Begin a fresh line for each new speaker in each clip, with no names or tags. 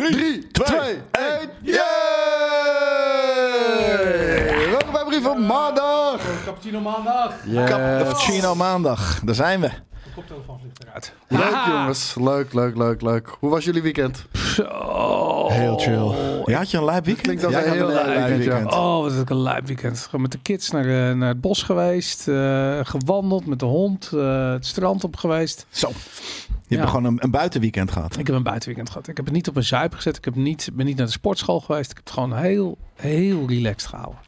3, 2, 1. Yay! Welkom bij Brief van Maandag.
Cappuccino maandag.
Cappuccino Maandag. Daar zijn we.
De koptelefoon vliegt eruit.
Leuk jongens, leuk, leuk, leuk, leuk. Hoe was jullie weekend?
Heel chill. Ja, had je een lijp weekend?
Klinkt als
Jij
een
had
heel lijp weekend, ja.
Oh, wat een lijp weekend. Gewoon met de kids naar, eh, naar het bos geweest. eh, gewandeld met de hond. eh, het strand op geweest.
Zo. Je
Ja.
hebt gewoon een, een buitenweekend gehad.
Ik heb een buitenweekend gehad. Ik heb het niet op een zuip gezet. Ik heb niet, ben niet naar de sportschool geweest. Ik heb het gewoon heel, heel relaxed gehouden.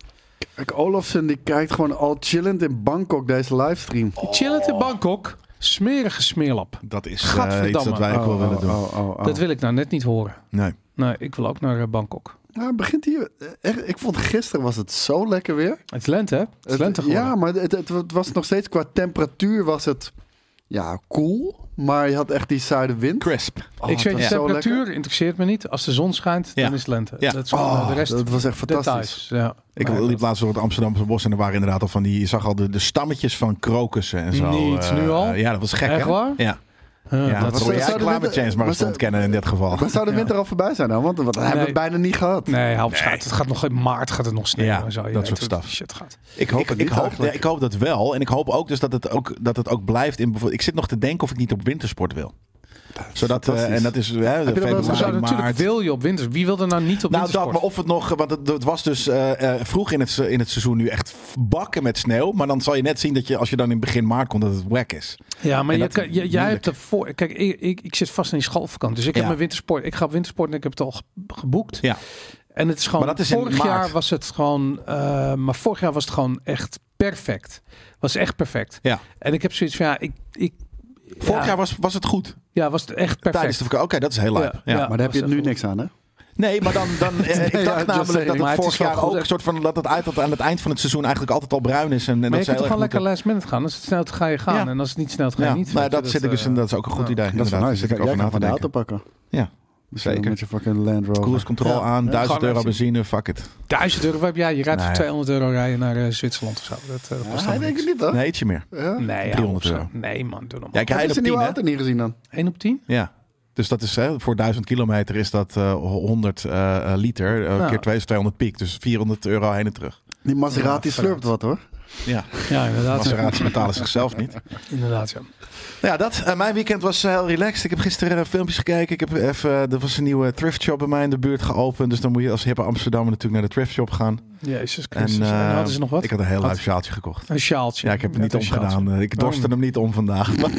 Kijk, Olofsen die kijkt gewoon al chillend in Bangkok deze livestream.
Chillen Chillend in Bangkok. Smerige smeerlap.
Dat is eh,
Gadverdamme.
iets dat wij ook wel willen doen.
Oh, oh, oh.
Dat wil ik nou net niet horen.
Nee.
Nee, ik wil ook naar eh, Bangkok.
Nou, begint hier, echt, ik vond gisteren was het zo lekker weer.
Het is lente, hè? Het is
Het-
lente geworden.
ja, maar het, het, het was nog steeds qua temperatuur was het ja, cool. Maar je had echt die zuidenwind.
Crisp.
Oh,
ik
het
zweet
was
de
zo
temperatuur,
lekker.
interesseert me niet. Als de zon schijnt,
Ja.
dan is het lente.
Ja. Oh,
Dat is gewoon, eh, de rest
Oh, Dat was echt fantastisch.
details. Ja.
Ik
Nee,
liep laatst door het Amsterdamse bos en er waren inderdaad al van die... Je zag al de, de stammetjes van krokussen en zo.
Niet,
eh,
nu al?
eh, Ja, dat was gek,
Echt
hè?
waar?
Ja.
Eh,
Ja,
dat
dat
is-
wil jij
zou de
climate
winter-
change maar eens
maar-
ontkennen in dit geval.
Maar zou de winter al voorbij zijn dan? Want dat hebben we
Nee.
bijna niet gehad.
Nee, hou op schuit. Het gaat nog in maart gaat het nog sneeuwen.
Ja,
en zo. Je
dat
weet
soort
hoe die
stuff.
Shit gaat.
Ik hoop,
Ik
ik,
niet
hoop,
eigenlijk.
ja, ik hoop dat wel. En ik hoop ook dus dat het ook, dat het ook blijft. In, bijvoorbeeld- ik zit nog te denken of ik niet op wintersport wil. Zodat, eh,
fantastisch.
en dat is hè, februari,
wel eens
Maar zo,
gezien?
maart.
natuurlijk wil je op winter. Wie wil er nou niet op
Nou, dat,
wintersport?
maar of het nog, want het, het was dus eh, eh, vroeg in het, se- in het seizoen nu echt bakken met sneeuw. Maar dan zal je net zien dat je, als je dan in begin maart komt, dat het whack is.
ja, maar
en
je
dat
kan- je- jij
moeilijk.
hebt ervoor... Kijk, ik, ik, ik zit vast in die schoolvakantie. Dus ik heb
Ja.
mijn wintersport. Ik ga op wintersport en ik heb het al ge- geboekt.
Ja.
En het is gewoon...
Maar dat is in
vorig
maart.
jaar was het gewoon... eh, maar vorig jaar was het gewoon echt perfect. Was echt perfect.
Ja.
En ik heb zoiets van, ja, ik... ik
Vorig
ja,
jaar was, was het goed
Ja, was het echt perfect.
tijdens de vakantie. Oké, dat is heel leuk. Ja,
Maar daar heb je nu niks aan, hè?
Nee, maar dan, dan eh,
Nee,
ik
ja, just
dacht
saying.
namelijk dat
Maar
het
het
vorig
is wel
jaar
goed.
ook een soort van dat het uit, dat aan het eind van het seizoen eigenlijk altijd al bruin is. En, en
Maar
dat
je kunt
ze heel
toch gewoon
erg
lekker last
moeten-
minute gaan. Als het snel gaat, ga je gaan.
Ja.
En als het niet snel gaat, ga
Ja,
je niet.
nou,
Weet
dat
je,
zit ik dus
eh,
en dat is ook een goed
ja.
idee.
Dat is wel
inderdaad.
nice. Dus
Daar zit ik
Jij
over na
kan
te
gewoon de auto
denken.
pakken.
Ja,
Dus
Zeker.
Met je fucking Land Rover.
Cruise control
Ja.
aan, 1000
gewoon
euro
even-
benzine, fuck it.
Duizend euro, waar heb jij? Je rijdt
Nee.
voor 200 euro rijden naar eh, Zwitserland of zo. Dat eh,
Ja,
kost
hij denkt
dan niks.
het niet, hoor.
Nee, ietsje meer.
Ja.
Nee,
300
300 euro.
euro.
Nee man, doe normaal.
Ja, ik rijd
Heb
op
je nieuwe
10, hè?
auto niet gezien dan?
1 op 10?
Ja. Dus dat is hè, voor 1000 kilometer is dat eh, 100 eh, eh, liter, eh,
Ja.
keer 2 is 200 piek. Dus 400 euro heen en terug.
Die Maserati
Ja,
slurpt wat hoor.
Ja,
Ja, inderdaad.
Maserati's betalen zichzelf niet. Nou
Inderdaad, ja.
ja, dat. eh, mijn weekend was eh, heel relaxed. Ik heb gisteren eh, filmpjes gekeken. Ik heb even, eh, er was een nieuwe thrift shop bij mij in de buurt geopend. Dus dan moet je als hippe Amsterdammer natuurlijk naar de thrift shop gaan.
Jezus
En,
Christus. En,
eh,
hadden ze nog wat?
Ik had een heel
Had-
leuk sjaaltje gekocht.
Een sjaaltje.
Ja, ik heb het niet
Net een sjaaltje.
omgedaan. Eh, Ik dorste
Waarom?
hem niet om vandaag. dat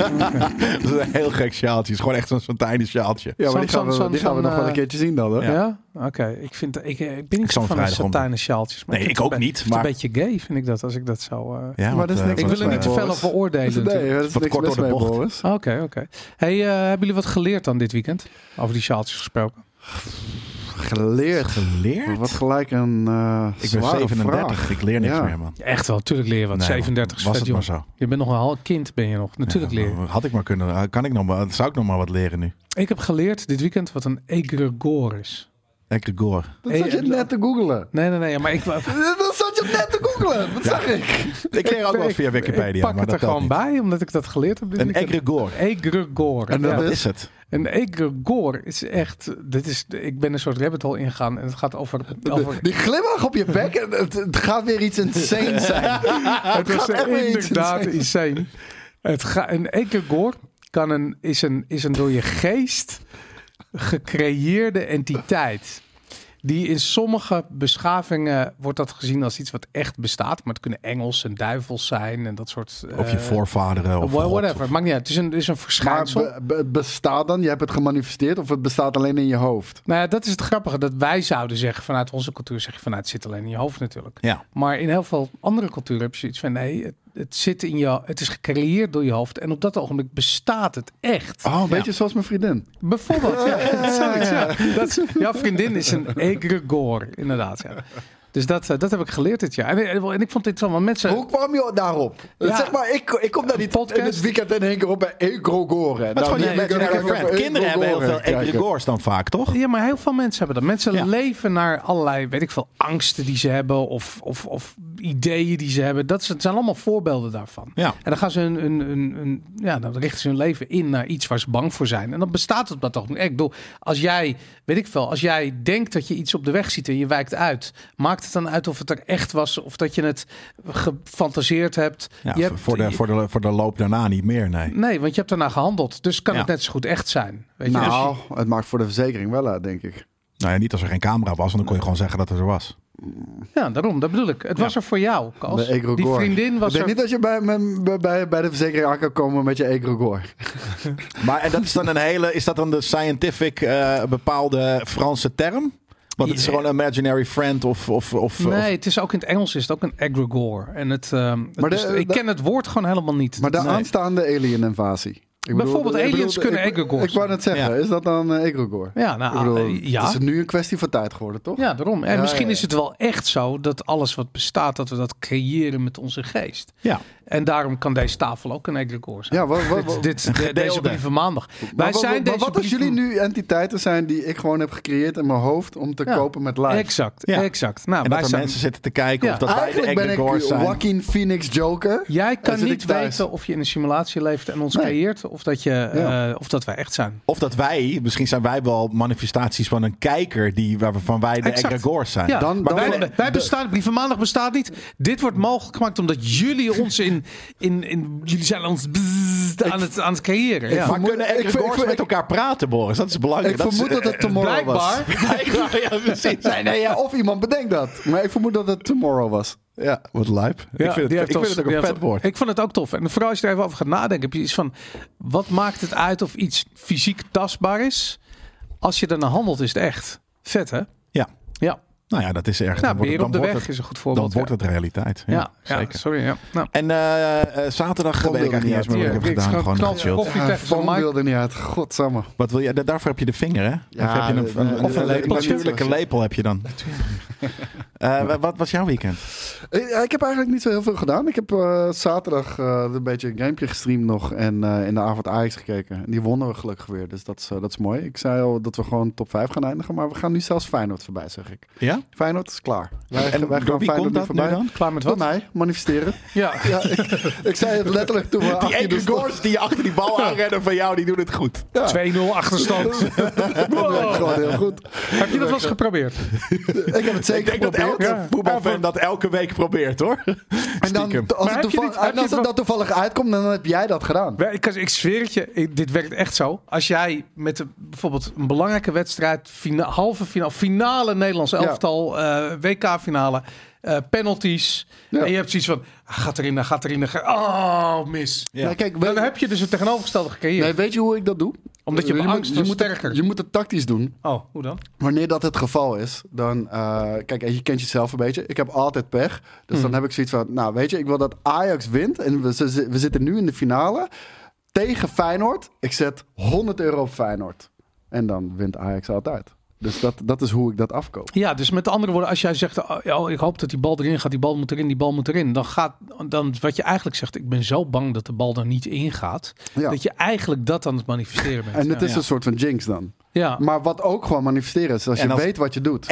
is een heel gek sjaaltje. Het is gewoon echt zo'n zo'n tiny sjaaltje.
Ja, maar
Zo'n-
die gaan we,
zo'n-
die gaan we
zo'n,
nog wel
eh,
een keertje zien dan hoor.
Ja, oké. Ik, vind, ik, eh, ik ben
Ik
niet
zal
zo van
hem
de
vrijdag om-
satijnen sjaaltjes. Maar
Nee,
vind
ik ook
het be-
niet,
ik vind
maar-
het een beetje gay, vind ik dat, als ik dat zo... eh,
Ja,
maar
want,
dat is
eh,
niks
Ik
wat,
wil er
mij,
niet te
eh,
fel
Boris.
over oordelen
Dus Nee,
natuurlijk.
dat is
Wat
niks
kort
mis
door de
mee,
bocht.
Boris.
Oké, oké. Hey, eh, hebben jullie wat geleerd dan dit weekend? Over die sjaaltjes gesproken.
Geleerd.
Geleerd?
Wat gelijk een eh
Ik ben
zware
37.
vraag.
Ik leer niks
Ja.
meer, man.
Ja, echt wel, natuurlijk leer je wat.
Nee,
37 is
was
vet
het maar
jong.
zo.
Je bent nog een half kind, ben je nog. Natuurlijk
Ja,
leer je.
Had ik maar kunnen. eh, Kan ik nog maar, zou ik nog maar wat leren nu?
Ik heb geleerd dit weekend wat een egregore is.
Egregor.
Dat zat je
Hey,
net te googelen.
Nee, nee, nee. Maar ik, ik,
Dat zat je net te googelen. Dat zag ik.
Ik leer ook wel eens via
ik
Wikipedia,
pak
maar
het er
dat telt
gewoon
niet.
bij, omdat ik dat geleerd heb dit
Een
weekend.
egregor.
Egregore.
En dat
ja.
Wat
is-
is het?
Een egregore is echt... Dit is, ik ben een soort rabbit hole ingegaan en het gaat over... over
Die glimlach op je bek. en Het, het gaat weer iets insane zijn.
het was
Ah, gaat echt weer iets
inderdaad
insane.
insane. Het ga, een egregore kan een, is, een, is een door je geest gecreëerde entiteit. Die in sommige beschavingen wordt dat gezien als iets wat echt bestaat. Maar het kunnen engels en duivels zijn en dat soort...
Of je
eh,
voorvaderen of
wha-
God,
whatever, maakt niet uit. Het is een, het is een
Maar
verschijnsel.
be- be- het bestaat dan? Je hebt het gemanifesteerd of het bestaat alleen in je hoofd?
Nou ja, dat is het grappige. Dat wij zouden zeggen vanuit onze cultuur, zeg je vanuit het zit alleen in je hoofd natuurlijk.
Ja.
Maar in heel veel andere culturen heb je zoiets van nee, het, het zit in je, het is gecreëerd door je hoofd en op dat ogenblik bestaat het echt.
Oh, een beetje zoals mijn vriendin.
Bijvoorbeeld, ja, dat zou ik zeggen. Dat is- jouw vriendin is een egregore, inderdaad. Ja. Dus dat, eh, dat heb ik geleerd dit jaar. En, eh, en, en ik vond dit allemaal mensen.
Hoe kwam je daarop?
Ja.
Zeg maar, ik, ik kom daar niet
podcast.
in het weekend in één keer op bij Egrogore.
Dat is
Nou,
gewoon
die
je
nee,
weekend
imaginary
ga ik even
friend. Kinderen hebben heel veel
Egrogore kijken.
egregors dan vaak, toch?
Ja, maar heel veel mensen hebben dat. Mensen
Ja.
leven naar allerlei, weet ik veel, angsten die ze hebben. Of, of, of ideeën die ze hebben. Dat is- het zijn allemaal voorbeelden daarvan.
Ja.
En dan gaan ze hun, hun, hun, hun- ja, dan richten ze hun leven in naar iets waar ze bang voor zijn. En dan bestaat het maar toch niet. Ik bedoel, als jij, weet ik veel, als jij denkt dat je iets op de weg ziet en je wijkt uit, maakt het dan uit of het er echt was of dat je het gefantaseerd hebt.
Ja,
je
voor-
hebt-
voor, de, voor, de, voor de loop daarna niet meer, nee.
Nee, want je hebt daarna gehandeld. Dus kan
Ja.
het net zo goed echt zijn. Weet je? Dus
Nou, het maakt voor de verzekering wel uit, denk ik.
Nou ja, niet als er geen camera was, want dan kon je gewoon zeggen dat het er was.
Dus- Ja, daarom, dat bedoel ik. Het was er voor jou, Kas.
De Egregore.
Die vriendin
Ik
was
denk
er.
niet dat je bij, bij- bij, bij de verzekering aan kan komen met je egregor.
Maar en dat is dan een hele, is dat dan de scientific eh, bepaalde Franse term? Want het is
Ja.
gewoon een imaginary friend of... of, of of-
Nee, het is ook in het Engels is het ook een egregore. En het, ehm, het
Maar de-
is- ik
de-
ken het woord gewoon helemaal niet.
Maar de
Nee.
aanstaande alien-invasie. Ik bedoel,
Bijvoorbeeld
ik bedoel,
aliens
ik-
kunnen egregores
Ik wou net zeggen,
Ja.
is dat dan eh, egregor?
ja, nou,
Ik bedoel,
eh, ja.
Het is nu een kwestie van tijd geworden, toch?
ja, daarom. En
Ja,
misschien
ja, ja.
is het wel echt zo dat alles wat bestaat, dat we dat creëren met onze geest.
Ja.
En daarom kan deze tafel ook een egregore zijn.
Ja, wat, wat, wat,
dit, dit, de- deze
gedeelde.
brief van maandag. Wij
maar wat-
zijn
maar
deze
wat als
brief
jullie
van-
nu entiteiten zijn die ik gewoon heb gecreëerd in mijn hoofd om te
Ja.
kopen met live?
Exact,
Ja.
exact. Nou, wij
En dat er
zijn-
mensen zitten te kijken
Ja.
of dat wij de
Eigenlijk ben ik
egregores zijn.
Joaquin Phoenix Joker.
Jij kan
zit ik
niet
thuis.
weten of je in een simulatie leeft en ons
Nee.
creëert of dat, je,
Ja.
eh, of dat wij echt zijn.
Of dat wij, misschien zijn wij wel manifestaties van een kijker die, waarvan wij de
Exact.
egregores zijn.
Ja,
Dan-
maar
dan-
wij,
de-
wij bestaan, Brieven Maandag bestaat niet. Dit wordt mogelijk gemaakt omdat jullie ons in, in, in jullie zijn ons bzzzt aan het, aan het creëren. Ja.
Maar
vermoed-
kunnen
ik- ik-
egregores
ik-
met elkaar praten, Boris? Dat is belangrijk.
Ik
Dat is,
vermoed dat
eh,
het Tomorrow was.
Blijkbaar.
blijkbaar, ja, precies.
Nee, nee, ja, of iemand bedenkt dat. Maar ik vermoed dat het Tomorrow was.
Ja, wat lijp.
Ja,
ik vind
die
het,
heeft
ik vind
ons-
het ook
die
een
heeft-
vet woord.
Ik vond het ook tof. En vooral als je er even over gaat nadenken, heb je iets van: wat maakt het uit of iets fysiek tastbaar is? Als je daarna handelt, is het echt. Vet, hè?
Ja.
Ja.
Nou ja, dat is erg.
Nou,
Dan wordt
weer
het-
op de
dan
weg
wordt het-
is een goed
Dan
voorbeeld.
wordt het realiteit. Ja,
ja. Ja, ja,
zeker.
sorry. Ja. Nou,
En eh, eh, zaterdag
Kom
weet ik
er niet
eigenlijk niet eens
uit.
meer wat ik
Ja,
heb
ik
gedaan.
schrok-
Gewoon
knal-
gechilled.
Koffie
Ja,
tegen zo'n
Van
mic.
wilde niet uit. Godsamme.
Wat wil je? da- Daarvoor heb je de vinger, hè?
Ja,
of heb je een,
nee,
een,
nee,
een
nee,
lepeltje.
natuurlijke lepel heb je dan? Eh, wa- wat was jouw weekend?
Eh, Ik heb eigenlijk niet zo heel veel gedaan. Ik heb eh, zaterdag eh, een beetje een gamepje gestreamd nog. En eh, in de avond Ajax gekeken. En die wonnen we gelukkig weer. Dus dat is, eh, dat is mooi. Ik zei al dat we gewoon top 5 gaan eindigen. Maar we gaan nu zelfs Feyenoord voorbij, zeg ik.
Ja?
Feyenoord is klaar. Wij,
En
wij
door wie komt dat nu dan?
klaar met
Wat?
wat?
mij, manifesteren.
Ja.
Ja, ik, ik zei het letterlijk toen we
Die
achter de
ene
stonden.
scores die je achter die bal aanrennen van jou, die doen het goed.
2-0 achterstand.
Dat werkt
Wow.
gewoon heel goed.
Heb je dat wel eens geprobeerd?
Ik heb het
Ik
zeker
denk dat
geprobeerd.
elke
Ja.
voetbalfan dat elke week probeert, hoor.
En dan,
Stiekem.
als,
Maar
het
heb je
toeval-
niet- heb
en
je
als het
wel-
dan toevallig uitkomt, dan heb jij dat gedaan.
Wij- Ik, ik zweer het je, ik- dit werkt echt zo. Als jij met de, bijvoorbeeld een belangrijke wedstrijd, fina, halve finale, finale Nederlands elftal, eh, WK-finale, eh, penalties.
Ja.
En je hebt zoiets van, hij gaat erin, hij gaat erin, hij gaat- oh, mis.
Ja.
Nou, kijk,
Dan
weet-
heb je dus het tegenovergestelde gecreëerd.
nee, weet je hoe ik dat doe?
Omdat je
moet-
angst
je
is
moet,
sterker.
Je moet het tactisch doen.
Oh, hoe dan?
Wanneer dat het geval is, dan... eh, kijk, en je kent jezelf een beetje. Ik heb altijd pech. Dus
Hmm.
dan heb ik zoiets van... Nou, weet je, ik wil dat Ajax wint. En we, ze- we zitten nu in de finale tegen Feyenoord. Ik zet 100 euro op Feyenoord. En dan wint Ajax altijd. Dus dat, dat is hoe ik dat afkoop.
Ja, dus met andere woorden, als jij zegt, oh, ja, oh, ik hoop dat die bal erin gaat, die bal moet erin, die bal moet erin. Dan gaat, dan wat je eigenlijk zegt, ik ben zo bang dat de bal er niet in gaat.
Ja.
Dat je eigenlijk dat aan het manifesteren bent.
En het
ja.
is een soort van jinx dan.
Ja.
Maar wat ook gewoon manifesteren is, als
En
je
als-
weet wat je doet.
51%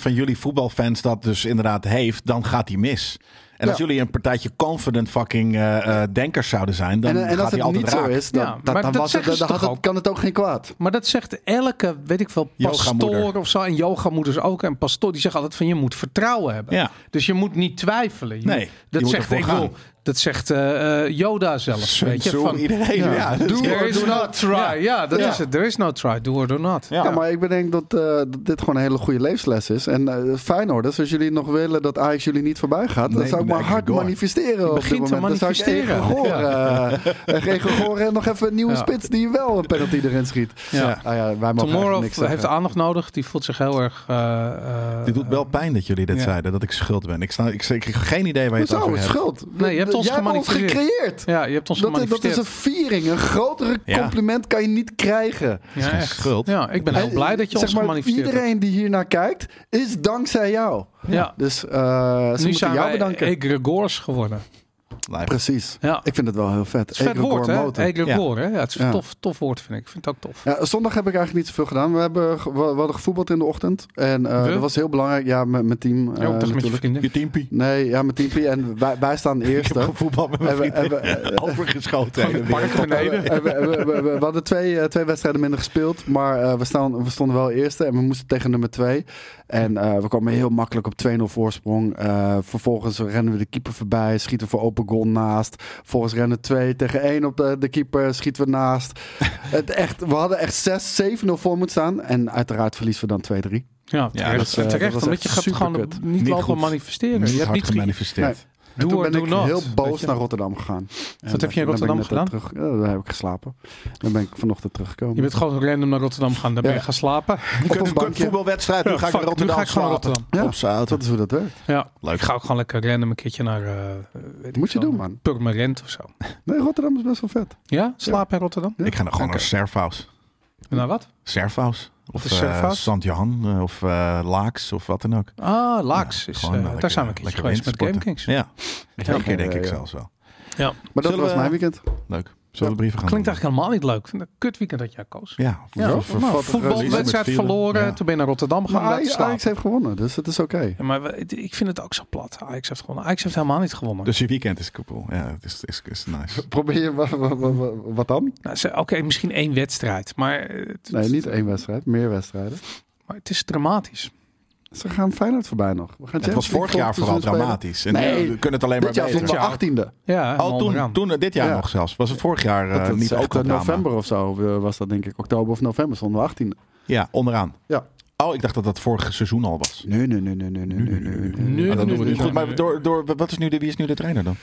van jullie voetbalfans dat dus inderdaad heeft, dan gaat die mis. En als
Ja.
jullie een partijtje confident fucking eh, eh, denkers zouden zijn, dan
En, en
gaat
als
die
het
altijd
niet
raak.
zo is, dan,
Ja,
dan,
maar
dan
dat
was het,
zeggen
dan
ze
had
toch
het,
ook?
kan het ook geen kwaad.
Maar dat zegt elke, weet ik wel,
Yogamoeder.
pastoor of zo. En yogamoeders ook. En pastoor, die zeggen altijd van je moet vertrouwen hebben.
Ja.
Dus je moet niet twijfelen. Je
Nee,
moet-
je
dat
moet
zegt
ervoor
ik
gaan.
wil, Dat zegt eh, eh, Yoda zelf.
Sun
Weet je,
Tzu,
van,
iedereen. Ja. dat is-
Doe
There
or
is
do
no
not.
try. Ja, dat
Ja.
is het. There is no try. Do or do not.
Ja.
Ja, maar ik bedenk dat, eh, dat dit gewoon een hele goede levensles is. En eh Feyenoorders, als jullie nog willen dat Ajax jullie niet voorbij gaat, dan
Nee,
zou ik
nee,
maar hard
Gregor.
manifesteren op dit
begint te
moment. Dan zou ik eh,
manifesteren.
Egregor en nog even een nieuwe
Ja.
spits die wel een penalty erin schiet.
Ja.
Ah ja, wij mogen eigenlijk
Tomorrow
niks
heeft
zeggen.
aandacht nodig. Die voelt zich heel erg... eh, eh,
Dit doet wel pijn dat jullie dit
Ja.
zeiden, dat ik schuld ben. Ik, sta, ik, ik heb geen idee waar je het
Hoezo?
over hebt.
Schuld?
Nee, je hebt ons
Jij hebt ons
gemanifesteerd.
gecreëerd.
Ja, je hebt ons
Dat, dat
gemanifesteerd.
is een viering. Een grotere
Ja.
compliment kan je niet krijgen.
ja,
Geen
echt.
schuld.
Ja, ik ben heel
En,
blij dat je
zeg
ons
maar,
gemanifesteerd hebt.
Iedereen die hiernaar kijkt, is dankzij jou.
Ja.
Dus eh, ze
Nu
moeten
zijn
jou
wij
bedanken.
egregores geworden.
Lijp.
Precies.
Ja.
Ik vind het wel heel vet.
Het is een vet
Edelgore
woord, hè?
motor.
Edele
Ja.
Gore, hè? Ja, het is een
Ja.
tof, tof woord, vind ik. Ik vind het ook tof.
Ja, zondag heb ik eigenlijk niet zoveel gedaan. We, hebben, ge- we, we hadden gevoetbald in de ochtend. En eh,
We? Oh,
dat was heel belangrijk. Ja, met mijn team. eh,
Ja, ook toch met je
natuurlijk.
vrienden.
Je teampie.
nee, ja, mijn team. En wij, wij staan
Ik heb
eerste.
voetbal met mijn
En we- en we-
vrienden overgeschoten.
Gewoon een
heen en weer.
park beneden.
En we, we, we, we hadden twee, eh, twee wedstrijden minder gespeeld. Maar eh, we, staan, we stonden wel eerste. En we moesten tegen nummer twee. En eh, we kwamen heel makkelijk op 2-0 voorsprong. Eh, vervolgens rennen we de keeper voorbij. Schieten we voor open goal naast. Vervolgens rennen twee tegen één op de, de keeper. Schieten we naast. het echt, we hadden echt 6, 7-0 voor moeten staan. En uiteraard verliezen we dan 2-3.
Ja, terecht.
dat is, eh,
En terecht
dat was
omdat je
echt
gaat gewoon
superkut.
niet,
Niet
lopen
goed.
manifesteren.
Niet
Je hebt
hard
niet ge-
gemanifesteerd.
En
Doe
toen
or
ben
do
ik
not,
heel
weet
boos
je.
naar Rotterdam gegaan.
Wat heb je in
Dan ben ik
Rotterdam
net
gedaan?
Terug, ja, daar heb ik geslapen. Dan ben ik vanochtend teruggekomen.
Je bent gewoon random naar Rotterdam gaan. Daar ben
Ja.
je gaan slapen.
op
Kut-
een
kut
bankje.
voetbalwedstrijd, nu
Ja,
ga ik
fuck,
naar Rotterdam
nu ga ik gewoon naar
slapen.
Rotterdam.
Ja,
Op zijn auto.
dat is hoe dat werkt.
Ja,
Leuk.
ik ga ook gewoon lekker random een keertje naar... eh, weet ik
moet je
veel,
doen, man.
Purmerend of zo.
Nee, Rotterdam is best wel vet.
Ja? Slapen in Rotterdam?
Ik ga nou gewoon
Oké.
naar Servaus.
Naar wat?
Servaus. Of
is Servaus?
Sant-Johan of eh, Laaks of wat dan ook.
Ah, Laaks.
Ja,
is,
gewoon,
eh,
eh,
daar
lekker-
zijn we een keertje
lekker
geweest met
windsporten.
GameKings.
Ja, twee keer denk
Ja,
ik
ja.
zelfs wel.
Maar dat
Zullen
was
we-
mijn weekend.
Leuk. Zullen we de brieven gaan
Klinkt
doen?
eigenlijk helemaal niet leuk. Ik vind het een kut weekend dat jij koos.
Ja,
Ja,
voor-
nou,
voor- voor-
voetbalwedstrijd
Met vielen.
verloren.
Ja.
Toen ben je naar Rotterdam
Maar
gegaan. laten
Ajax,
slapen.
Ajax heeft gewonnen, dus het is oké.
Ja, maar we- het- ik vind het ook zo plat. Ajax heeft gewonnen. Ajax heeft helemaal niet gewonnen.
Dus je weekend is koepel. Ja, het is, is, is nice.
Probeer je wa- wa- wa- wa- wat dan?
Nou, ze- Oké, misschien één wedstrijd. Maar, eh, het,
Nee, niet één wedstrijd, meer wedstrijden.
maar het is dramatisch.
Ze gaan Feyenoord voorbij nog. We gaan
Het was
Champions
vorig
League
jaar
tot
vooral
seizoen spelen.
dramatisch. En eh,
Nee.
we kunnen het alleen maar
Dit jaar
beter.
stond
Dit
de
jaar.
achttiende.
Ja,
Al toen,
onderaan.
toen, eh, dit jaar
Ja.
nog zelfs. Was het vorig jaar eh,
Dat is
niet
echt,
ook
eh,
een drama?
november of zo eh, was dat denk ik. Oktober of november stonden we achttiende.
Ja, onderaan.
Ja.
Oh, ik dacht dat dat vorig seizoen al was.
Nee, nee, nee, nee, nee, nee, nee, nee, nee.
Nu,
Maar dan
nu,
doen we
nu,
niet
nu.
goed. Maar door, door, wat is nu de, wie is nu de trainer dan?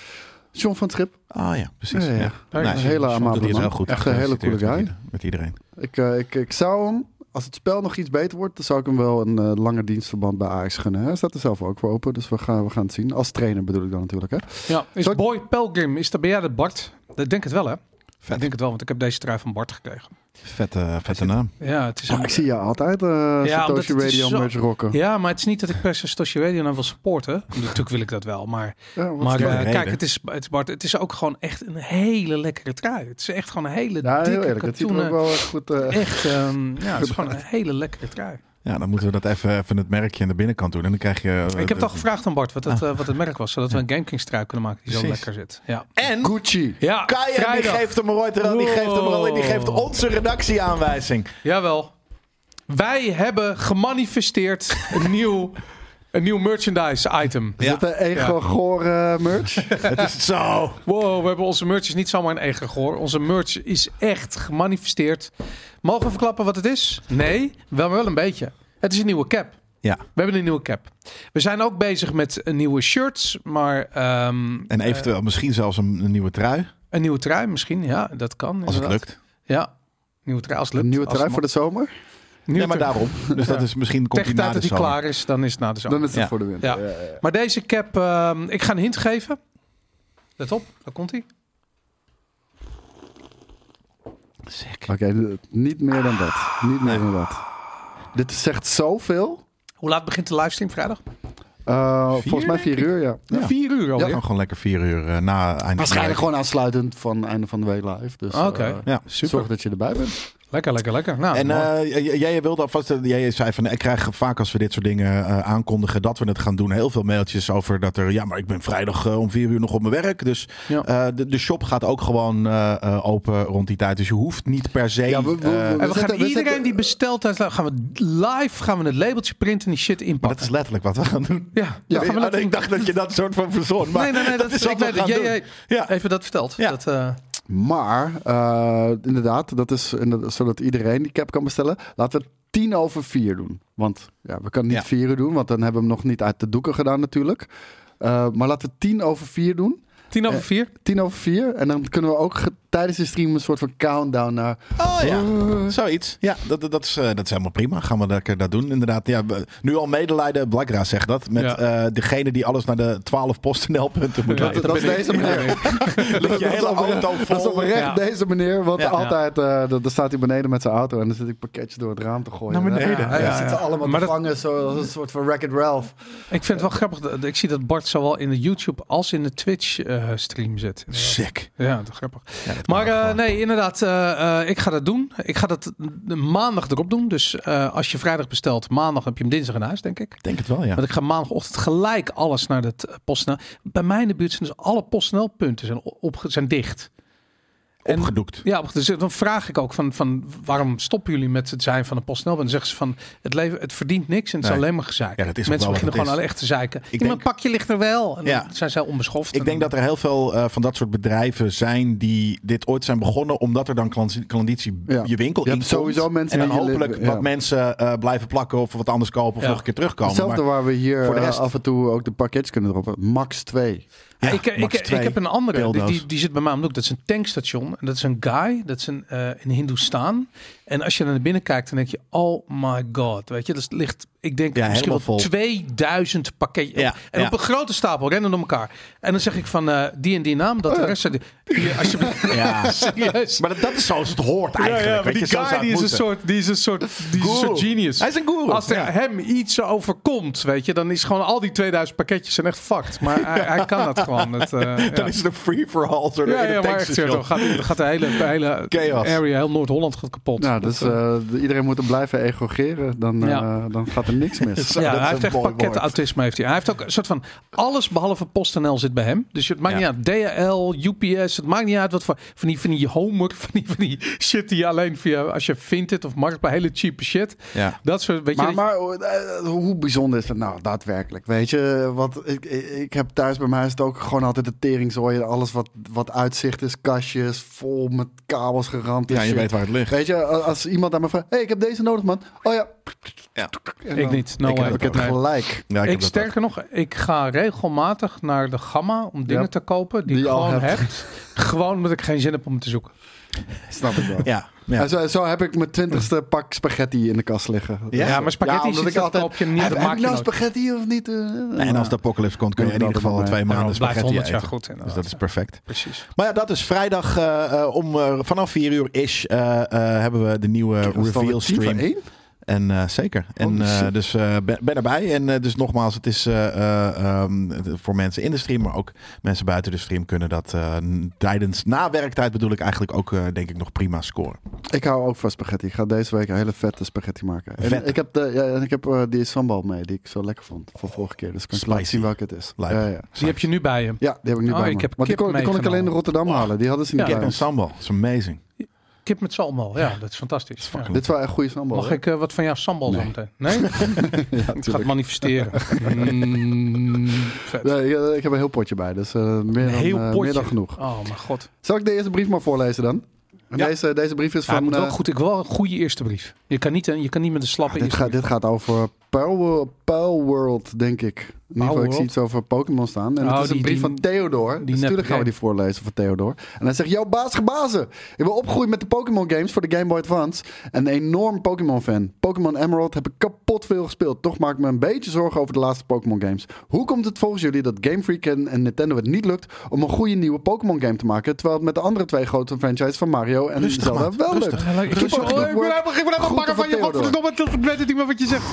John van het Schip.
Ah ja, precies.
Ja, ja.
Ja.
Daar
Nee,
Een
is-
hele
Doet hij
amabele
het
man.
heel goed.
Echt een hele coole
Gefeliciteerd
guy.
Met, ieder- met iedereen.
Ik, eh, ik, ik zou hem, als het spel nog iets beter wordt, dan zou ik hem wel een eh, langer dienstverband bij Ajax gunnen. Hij staat er zelf ook voor open, dus we gaan, we gaan het zien. Als trainer bedoel ik dan natuurlijk. Hè?
Ja, is
Zal ik-
Boy Pelgrim, is dat, ben jij dat Bart? Ik denk het wel, hè? Ik
Vet,
denk het wel, want ik heb deze trui van Bart gekregen.
vette, vette naam.
Ja, het is
Ja,
een-
ik zie je altijd eh
Ja, omdat
Satoshi
het is
Radio
zo-
merch rocken.
ja, maar het is niet dat ik per se Stosje Radio nou wil supporten. Natuurlijk wil ik dat wel, maar,
Ja, wat
maar
is
eh,
dat?
de reden?
kijk, het is, het, is Bart, het is ook gewoon echt een hele lekkere trui. Het is echt gewoon een hele
ja, heel
dikke
eerlijk, het ziet er ook
katoenen-
wel echt goed eh,
Echt, ehm, ja, het is gewoon een hele lekkere trui.
Ja, dan moeten we dat even, even het merkje aan de binnenkant doen. En dan krijg je... eh,
Ik heb
de-
toch gevraagd aan Bart wat het, eh, wat het merk was, zodat we een GameKings trui kunnen maken die zo
Ah. Precies.
lekker zit. Ja,
En
Gucci.
ja
Kaya die
vrijdag.
geeft hem eruit en die geeft hem eruit en die geeft
Wow.
onze redactieaanwijzing.
Jawel. Wij hebben gemanifesteerd een nieuw, een nieuw merchandise item.
Is
Ja.
dat een ego-goor eh, merch?
Het is zo.
Wow, we hebben onze merch is niet zomaar een eigen gehoor. Onze merch is echt gemanifesteerd. Mogen we verklappen wat het is? Nee, wel, wel een beetje. Het is een nieuwe cap.
Ja,
We hebben een nieuwe cap. We zijn ook bezig met eh, nieuwe shirts, maar ehm,
en eventueel misschien zelfs een, een nieuwe trui.
een nieuwe trui misschien. Ja, dat kan.
Als het
inderdaad.
lukt.
Ja, nieuwe trui als het lukt.
Een nieuwe
Als
trui
het
voor de zomer?
mag. Nieuwe
Ja, maar
trui.
daarom. Dus dat is misschien komt hij
Tegen de
na
tijd dat
de
hij
zomer.
klaar is, dan is het na de zomer.
Dan is het
Ja.
voor de winter.
Ja. Maar deze cap, ehm, ik ga een hint geven. Let op, daar komt hij.
Oké, d- niet meer dan dat. Niet meer dan dat. Dit zegt zoveel.
Hoe laat begint de livestream vrijdag?
Eh,
Vier,
volgens mij
denk
vier uur, ja.
Ja.
Vier uur
Ja,
alweer.
dan gewoon lekker vier uur eh, na eind
Waarschijnlijk gewoon aansluitend van einde van de week live. Dus, eh,
Oké.
Ah, Ja.
Zorg dat je erbij bent.
Lekker, lekker, lekker. Nou,
En
mooi.
eh, j- jij wilde alvast, eh, jij zei van, ik krijg vaak als we dit soort dingen eh, aankondigen dat we het gaan doen, heel veel mailtjes over dat er, ja, maar ik ben vrijdag eh, om vier uur nog op mijn werk, dus
Ja.
eh, de, de shop gaat ook gewoon eh, eh, open rond die tijd, dus je hoeft niet per se.
Ja, we- we-
eh,
we-
en we, gaan
zitten- we
iedereen
zitten-
die bestelt, daar gaan we live gaan we het labeltje printen en die shit
maar dat is
inpakken.
letterlijk wat we gaan doen.
Ja, dat gaan we
Ja,
laten
ik
doen.
dacht dat je dat soort van verzon, maar
nee, nee, nee, dat,
is
is
wat
ik
we
weet het.
gaan
Jij-
doen.
jij-
Ja.
Even dat verteld.
Ja.
Dat, eh,
Maar, eh, inderdaad, dat is inderdaad- zodat iedereen die cap kan bestellen. Laten we tien over vier doen. Want ja, we kunnen niet
Ja.
vier uur doen, want dan hebben we hem nog niet uit de doeken gedaan natuurlijk. Eh, maar laten we tien over vier doen.
tien over
Eh,
vier.
Tien over vier. En dan kunnen we ook ge- tijdens de stream een soort van countdown naar...
Oh ja, zoiets. Ja, dat, dat, dat is, eh, dat is helemaal prima. Gaan we lekker dat doen, inderdaad. Ja, we- nu al medelijden, Blackra zegt dat. Met
Ja.
eh, degene die alles naar de 12 postnl-punten moet
Ja,
rijden.
dat is
ben ik.
deze meneer.
Ligt je hele auto vol.
Dat is oprecht
Ja.
deze meneer. Want
Ja.
altijd, eh, dan- dan staat hij beneden met zijn auto en dan zit ik pakketjes door het raam te gooien.
Naar beneden.
Ja,
Ja, ja.
dan zitten ze allemaal
Maar
te
dat-
vangen, zo, als een soort van Wreck-It Ralph.
Ik vind het wel grappig. dat- Ik zie dat Bart zowel in de YouTube als in de Twitch eh, stream zit.
Sick.
Ja, dat is grappig.
Ja, dat kan
Maar eh,
gewoon.
nee, inderdaad, eh, eh, ik ga dat doen. Ik ga dat de maandag erop doen. Dus eh, als je vrijdag bestelt, maandag heb je hem dinsdag in huis, denk ik.
Ik denk het wel, ja.
Want ik ga maandagochtend gelijk alles naar het eh, PostNL. Bij mij in de buurt zijn dus alle PostNL-punten zijn, op, zijn dicht. En
Opgedoekt.
ja, dus dan vraag ik ook van, van waarom stoppen jullie met het zijn van een PostNL? En dan zeggen ze van het leven het verdient niks en het
Nee.
is alleen maar gezeik.
Ja, dat is ook
Mensen
wel wat
beginnen
het
gewoon al echt te zeiken. Ik
denk-
mijn pakje ligt er wel. En
Ja.
dan zijn zij onbeschoft.
Ik denk dat er heel veel eh, van dat soort bedrijven zijn die dit ooit zijn begonnen, omdat er dan klanditie- klanditie
Ja.
je winkel
Je
in
hebt
komt.
sowieso mensen
en
die
dan
je
hopelijk
leven- ja.
wat mensen eh, blijven plakken of wat anders kopen of
Ja.
nog een keer terugkomen.
Hetzelfde
Maar
waar we hier
voor de
eh,
rest-
af en toe ook de pakketjes kunnen droppen. Max 2.
Ja,
ik, ik,
max
ik,
twee
heb een andere, die,
dildo's.
die, die zit bij mij om de hoek. Dat is een tankstation. En dat is een guy, dat is een, eh een Hindoestaan. En als je naar binnen kijkt, dan denk je, oh my god. Weet je, dat ligt, ik denk
Ja,
misschien wel
helemaal vol.
2000 pakketjes.
Ja,
en
ja.
op een grote stapel, rennen door elkaar. En dan zeg ik van eh, die en die naam,
Oh
dat de rest... zegt, Hier, alsjeblieft.
Ja.
Serieus.
Maar dat, dat is zoals het hoort eigenlijk.
Ja, ja, maar
weet
die
je, zo zou
guy
het
die is, een
moeten.
soort, die is een soort, die is een
Guru.
soort genius.
Hij is een guru.
Als er
Ja.
hem iets overkomt, weet je, dan is gewoon al die 2000 pakketjes zijn echt fucked. Maar hij, hij kan dat gewoon. Het, eh,
Dan
ja.
is het een free-for-all. zo
ja,
in
ja,
de
maar echt,
tankstation.
Sergio, dan gaat, dan gaat de hele, de hele
Chaos.
area, heel Noord-Holland gaat kapot.
Nou, dus
Dat, eh,
eh, iedereen moet er blijven egogeren. Dan, eh,
Ja.
dan gaat er niks mis.
dat
ja,
is
hij
een
heeft echt
mooi
pakket
woord.
autisme. Heeft hij. hij heeft ook een soort van alles behalve PostNL zit bij hem. Dus het maakt
Ja.
niet uit. DHL, UPS, het maakt niet uit wat voor van die, van die homework, van die, van die shit die je alleen via als je vindt het of markt bij hele cheap shit.
Ja.
Dat soort, weet je,
Maar,
dat-
maar eh, hoe bijzonder is dat nou daadwerkelijk? Weet je, want ik, ik- ik heb thuis bij mij is het ook gewoon altijd de teringzooi. en Alles wat, wat uitzicht is, kastjes vol met kabels geramd. en
Ja, je
shit.
weet waar het ligt.
Weet je, als als iemand aan me vraagt: hey, ik heb deze nodig, man. Oh ja.
Ja.
En
ik
dan
niet. No
heb
way.
ik het
Nee.
gelijk.
Ja,
Ik,
heb dat ook.
sterker nog, ik ga regelmatig naar de Gamma om dingen
Ja.
te kopen die,
Die
ik
je al
gewoon
hebt.
heb. Gewoon omdat ik geen zin heb om te zoeken.
Snap ik wel.
Ja, ja.
En zo, zo heb ik mijn twintigste pak spaghetti in de kast liggen.
Ja,
Ja, maar spaghetti is
omdat
iets
ik
dat koop je niet,
Heb,
dat
heb
maak
ik
je
nou
nooit.
spaghetti of niet? Eh, eh,
En als
nou.
de apocalypse komt, kun je
Ja,
in ieder
dat
geval
erbij.
twee
Daarom
maanden
blijft
spaghetti
100 jaar
eten.
goed.
Dus
inderdaad.
dat is perfect.
Precies.
Maar ja, dat is vrijdag eh, eh, om, eh, vanaf 4 uur ish eh, eh, hebben we de nieuwe
Was het alweer
eh, reveal
tien voor
stream.
één?
En eh, zeker. En
Holy
eh,
Oh, shit.
dus eh, ben, ben erbij. En eh, dus nogmaals, het is eh, eh, ehm, het- voor mensen in de stream, maar ook mensen buiten de stream kunnen dat eh, n- tijdens na werktijd bedoel ik eigenlijk ook eh, denk ik nog prima scoren.
Ik hou ook van spaghetti. Ik ga deze week een hele vette spaghetti maken. En
Vette.
ik heb, de, ja, en ik heb eh, die sambal mee, die ik zo lekker vond van vorige keer. Dus kan ik
Spicy.
laten zien welke het is.
Lijp.
Ja, ja.
Die heb je nu bij hem.
ja, die heb ik nu
Oh,
bij
ik
me.
heb
Want die
kip
kon, die kon ik alleen
meegenomen.
in Rotterdam halen. Die hadden ze niet
Ja.
bij
Oh. Kip en
ons.
sambal, dat is amazing.
Kip met sambal. Ja, dat is fantastisch. Ja.
fucking-
Dit is wel echt goede sambal.
Mag
hè?
ik eh, wat van jouw sambal
Nee.
zo meteen? Nee? ik ga het
tuurlijk.
manifesteren. Mm, vet.
Nee, ik, eh, ik heb een heel potje bij, dus eh, meer, dan,
Heel
eh,
potje.
meer dan genoeg.
Oh mijn god.
Zal ik de eerste brief maar voorlezen dan? En
Ja.
Deze, deze brief is
Ja, het
van...
moet wel
eh, Ah,
goed. Ik wil wel een goede eerste brief. Je kan niet, eh, je kan niet met een slappe
dit,
eerste
gaat, dit gaat over Power, Power World, denk ik. In ieder geval, ik
Palworld?
zie iets over Pokémon staan. En
Oh,
het is een
die-
brief
die-
van Theodor. Dus
nep
natuurlijk gaan we
game.
die voorlezen van Theodor. En hij zegt, yo baas gebazen. Ik ben opgegroeid met de Pokémon games voor de Game Boy Advance. En een enorm Pokémon fan. Pokémon Emerald heb ik kapot veel gespeeld. Toch maak ik me een beetje zorgen over de laatste Pokémon games. Hoe komt het volgens jullie dat Game Freak en, en Nintendo het niet lukt... om een goede nieuwe Pokémon game te maken... terwijl het met de andere twee grote franchises van Mario en
Rustig,
Zelda
maat.
wel
Rustig.
lukt?
Ja, Ik,
Goed
ik, zo,
voor
oh,
het
ik ben
woord.
helemaal- ik ben helemaal
Goed
bakken
voor
van je.
Theodor.
Godverdomme, dat- ik weet het niet meer wat je zegt.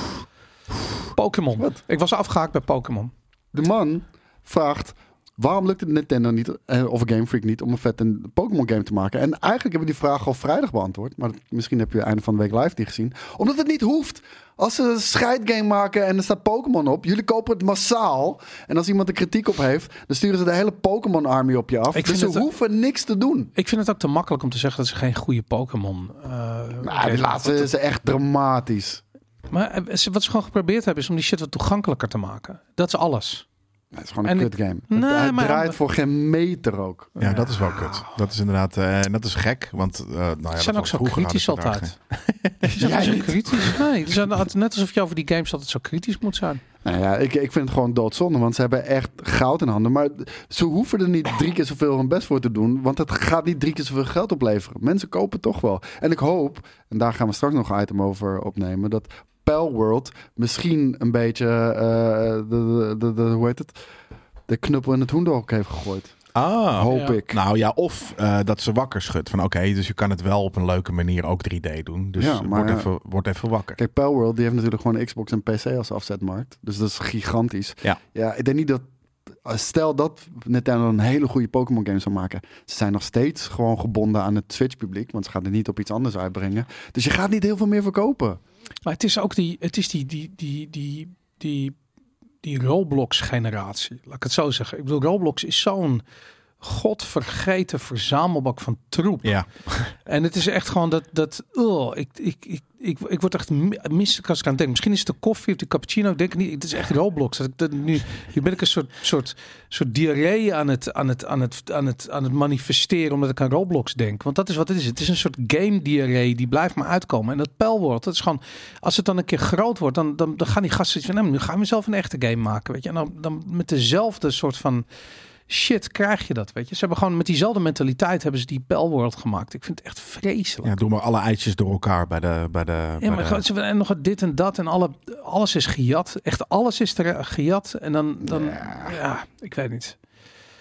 Pokémon. Ik was afgehaakt bij Pokémon.
De man vraagt. Waarom lukt het Nintendo niet, eh, of Game Freak niet, om een vette Pokémon game te maken? En eigenlijk hebben we die vraag al vrijdag beantwoord. Maar dat- misschien heb je einde van de week live niet gezien. Omdat het niet hoeft. Als ze een scheidgame maken en er staat Pokémon op, jullie kopen het massaal. En als iemand er kritiek op heeft, dan sturen ze de hele Pokémon-army op je af.
Ik
dus
vind
ze
het-
hoeven niks te doen.
Ik vind het ook te makkelijk om te zeggen dat ze geen goede Pokémon... eh,
Nou, die
games-
laatste is echt dramatisch.
Maar eh, ze- wat ze gewoon geprobeerd hebben is om die shit wat toegankelijker te maken. Dat is alles.
Het is gewoon een
En ik-
kut game.
Nee,
het
maar-
draait voor geen meter ook.
Ja, dat is wel kut. Dat is inderdaad, eh, en dat is gek, want eh, nou ja, dat
Ze zijn ook
was
zo
vroeger
kritisch
hadden ze daar
altijd. Ze zijn
Jij
zo
niet.
kritisch. Nee, ze zijn altijd- net alsof je over die games altijd zo kritisch moet zijn.
Nou ja, ik, ik vind het gewoon doodzonde, want ze hebben echt goud in handen. Maar ze hoeven er niet drie keer zoveel hun best voor te doen, want het gaat niet drie keer zoveel geld opleveren. Mensen kopen toch wel. En ik hoop, en daar gaan we straks nog een item over opnemen, dat Pal World misschien een beetje, eh, de, de, de, de- hoe heet het, de knuppel in het hoendehok heeft gegooid.
geen- Ah,
Hoop
Ja.
ik.
Nou ja, of eh, dat ze wakker schudt. Van oké, dus je kan het wel op een leuke manier ook 3D doen. Dus
Ja, maar-
word, even, word even wakker.
Kijk, Pal World die heeft natuurlijk gewoon Xbox en PC als afzetmarkt. Dus dat is gigantisch.
Ja.
ja ik denk niet dat. Stel dat Nintendo een hele goede Pokémon game zou maken. Ze zijn nog steeds gewoon gebonden aan het Switch publiek. Want ze gaan er niet op iets anders uitbrengen. Dus je gaat niet heel veel meer verkopen.
Maar het is ook die, het is die, die, die, die, die, die Roblox-generatie. Laat ik het zo zeggen. Ik bedoel, Roblox is zo'n godvergeten verzamelbak van troep.
Ja,
En het is echt gewoon dat, dat oh, ik, ik, ik, ik, ik word echt mi- misselijk als ik aan denk. Misschien is het de koffie of de cappuccino. Ik denk het niet, het is echt Roblox. Dat ik dat nu, nu ben ik een soort, soort, soort diarree aan het, aan, het, aan, het, aan, het, aan het manifesteren omdat ik aan Roblox denk. Want dat is wat het is. Het is een soort game diarree die blijft maar uitkomen. En dat pijlwoord, dat is gewoon, als het dan een keer groot wordt, dan, dan, dan gaan die gasten iets van, nou, nu gaan we zelf een echte game maken. Weet je? En dan, dan met dezelfde soort van shit krijg je dat, weet je. Ze hebben gewoon met diezelfde mentaliteit hebben ze die Pellworld gemaakt. Ik vind het echt vreselijk.
ja, doe maar alle eitjes door elkaar bij de... Bij de
Ja,
bij
maar eh,
de-
gewoon, ze- en nog dit en dat en alle, alles is gejat. Echt alles is er eh, gejat. En dan, dan ja. ik weet niet.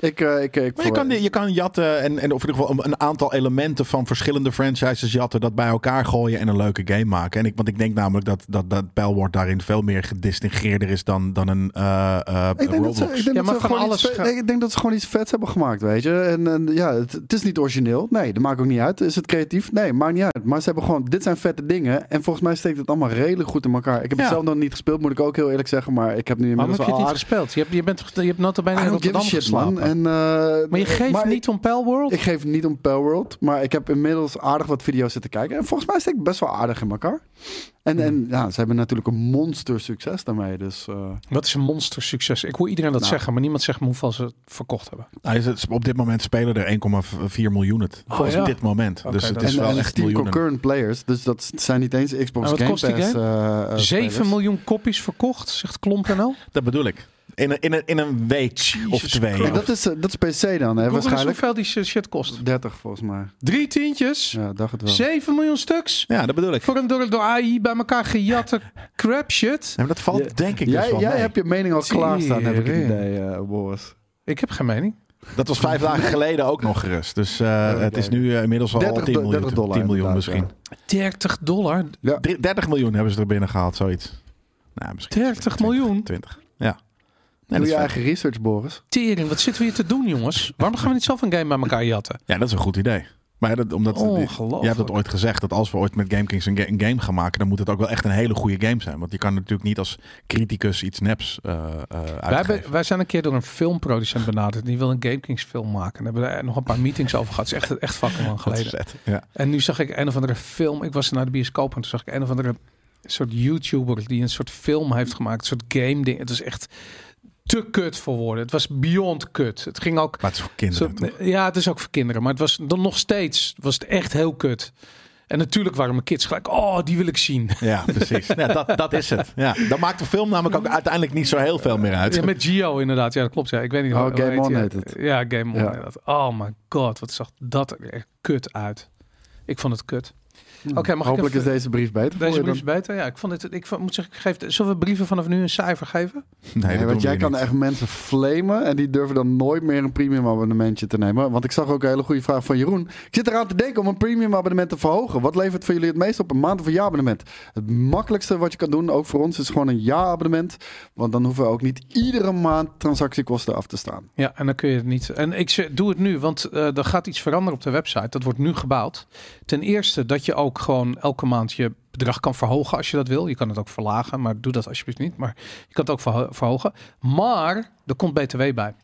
Ik, eh, ik, ik,
Maar je kan, je kan jatten en, en of in ieder geval een- een aantal elementen van verschillende franchises jatten, dat bij elkaar gooien en een leuke game maken. En ik, want ik denk namelijk dat, dat, dat Pijlwoord daarin veel meer gedistingeerder is dan, dan een eh, eh,
Ik denk, dat
Roblox.
ze, ik, denk
Ja,
dat
maar
ze
van
gewoon
alles
iets,
ga-
nee, ik denk dat ze gewoon iets vets hebben gemaakt, weet je. En, en ja, het, het is niet origineel. Nee, dat maakt ook niet uit. Is het creatief? Nee, maakt niet uit. Maar ze hebben gewoon, dit zijn vette dingen. En volgens mij steekt het allemaal redelijk goed in elkaar. Ik heb
Ja.
het zelf nog niet gespeeld, moet ik ook heel eerlijk zeggen. Maar ik heb nu
Waarom
inmiddels
heb je het
al
niet
aardig-
gespeeld? Je hebt, je bent, je hebt nota bene
I
in
don't give a
Rotterdam
shit,
geslapen.
man. En, eh,
maar je geeft
maar
niet om Pellworld?
Ik, ik geef niet om Pell World, maar ik heb inmiddels aardig wat video's zitten kijken. En volgens mij steekt het best wel aardig in elkaar. En,
Hmm.
en ja, ze hebben natuurlijk een monster succes daarmee. Dus eh,
Wat is een monster succes? Ik hoor iedereen dat
Nou. Eh,
zeggen, maar niemand zegt me hoeveel ze het verkocht hebben.
Hij is het- op dit moment spelen er 1,4 miljoen het.
Oh,
Volgens
ja.
dit moment.
Oké,
dus het
dat
is
is-
en,
wel
en
echt
Steam
miljoenen.
concurrent players, dus dat zijn niet eens Xbox
En Nou, wat
Game
kost die
Pass.
game?
eh, eh,
7
spelers. Eh,
miljoen kopies verkocht, zegt Klomp.nl.
Dat bedoel ik. In een, in een, in een week of twee.
Christ.
En dat is, eh, dat is PC dan, hè,
Google eens
waarschijnlijk.
hoeveel die shit kost.
30 volgens mij.
Drie tientjes,
Ja, dacht het wel.
7 miljoen stuks.
Ja, dat bedoel ik.
Voor een door, door AI bij elkaar gejatte crap shit.
Ja, maar dat valt
Ja.
denk ik dus
Jij,
wel
jij
mee.
hebt je mening al klaarstaan, heb ik het
Tering.
idee, eh, Boris.
Ik heb geen mening.
Dat was vijf dagen geleden ook nog gerust. Dus eh,
Ja,
het is
oké.
nu eh, inmiddels al
30
10 miljoen,
30 dollar
10 miljoen
inderdaad,
misschien.
30 dollar.
Drie- 30 miljoen hebben ze er binnen gehaald, zoiets. Nou, misschien
30 miljoen.
20. Ja. Nee,
Doe
dat is
je
vet.
eigen research, Boris.
Tering, wat zitten we hier te doen, jongens? Waarom gaan we niet zelf een game bij elkaar jatten?
ja, dat is een goed idee. Maar dat, omdat
Ongelooflijk.
jij hebt dat ooit gezegd, dat als we ooit met GameKings een, ga- een game gaan maken, dan moet het ook wel echt een hele goede game zijn. Want je kan natuurlijk niet als criticus iets neps eh eh,
Wij,
uitgeven.
hebben, wij zijn een keer door een filmproducent benaderd. Die wil een GameKings film maken. En hebben we daar nog een paar meetings over gehad. Dat is echt, echt fucking lang
Dat is
geleden.
vet. Ja.
En nu zag ik een of andere film. Ik was naar de bioscoop en toen zag ik een of andere soort YouTuber die een soort film heeft gemaakt. Een soort game ding. Het was echt te kut voor woorden. Het was beyond kut. Het ging ook
Maar het is voor kinderen,
Zo-
toch?
ja, het is ook voor kinderen. Maar het was dan nog steeds was het echt heel kut. En natuurlijk waren mijn kids gelijk, oh, die wil ik zien.
Ja, precies. Ja, dat, dat is het. Ja. Dan maakt de film namelijk ook uiteindelijk niet zo heel veel meer uit.
Ja, met Gio inderdaad. Ja, dat klopt. Ja. Ik weet niet
Oh,
hoe- hoe
Game On
die.
heet het.
Ja, Game On
Ja.
inderdaad. Oh my god, wat zag dat er echt kut uit. Ik vond het kut. Oké, mag ik
Hopelijk
even-
is deze brief beter voor
Deze
je
brief
dan-
is beter. Ja, ik vond het. Ik vond- moet zeggen, ik geef, zullen we brieven vanaf nu een cijfer geven?
Nee,
Nee,
dat
want
doen
jij
we
kan
niet.
echt mensen flamen en die durven dan nooit meer een premium abonnementje te nemen. Want ik zag ook een hele goede vraag van Jeroen. Ik zit eraan te denken om een premium abonnement te verhogen. Wat levert voor jullie het meest op? Een maand of een jaar abonnement? Het makkelijkste wat je kan doen, ook voor ons, is gewoon een jaar abonnement. Want dan hoeven we ook niet iedere maand transactiekosten af te staan.
Ja, en dan kun je het niet. En ik zeg, doe het nu, want eh, er gaat iets veranderen op de website. Dat wordt nu gebouwd. Ten eerste dat je ook gewoon elke maand je bedrag kan verhogen als je dat wil. Je kan het ook verlagen, maar doe dat alsjeblieft niet. Maar je kan het ook verho- verhogen. Maar er komt BTW bij.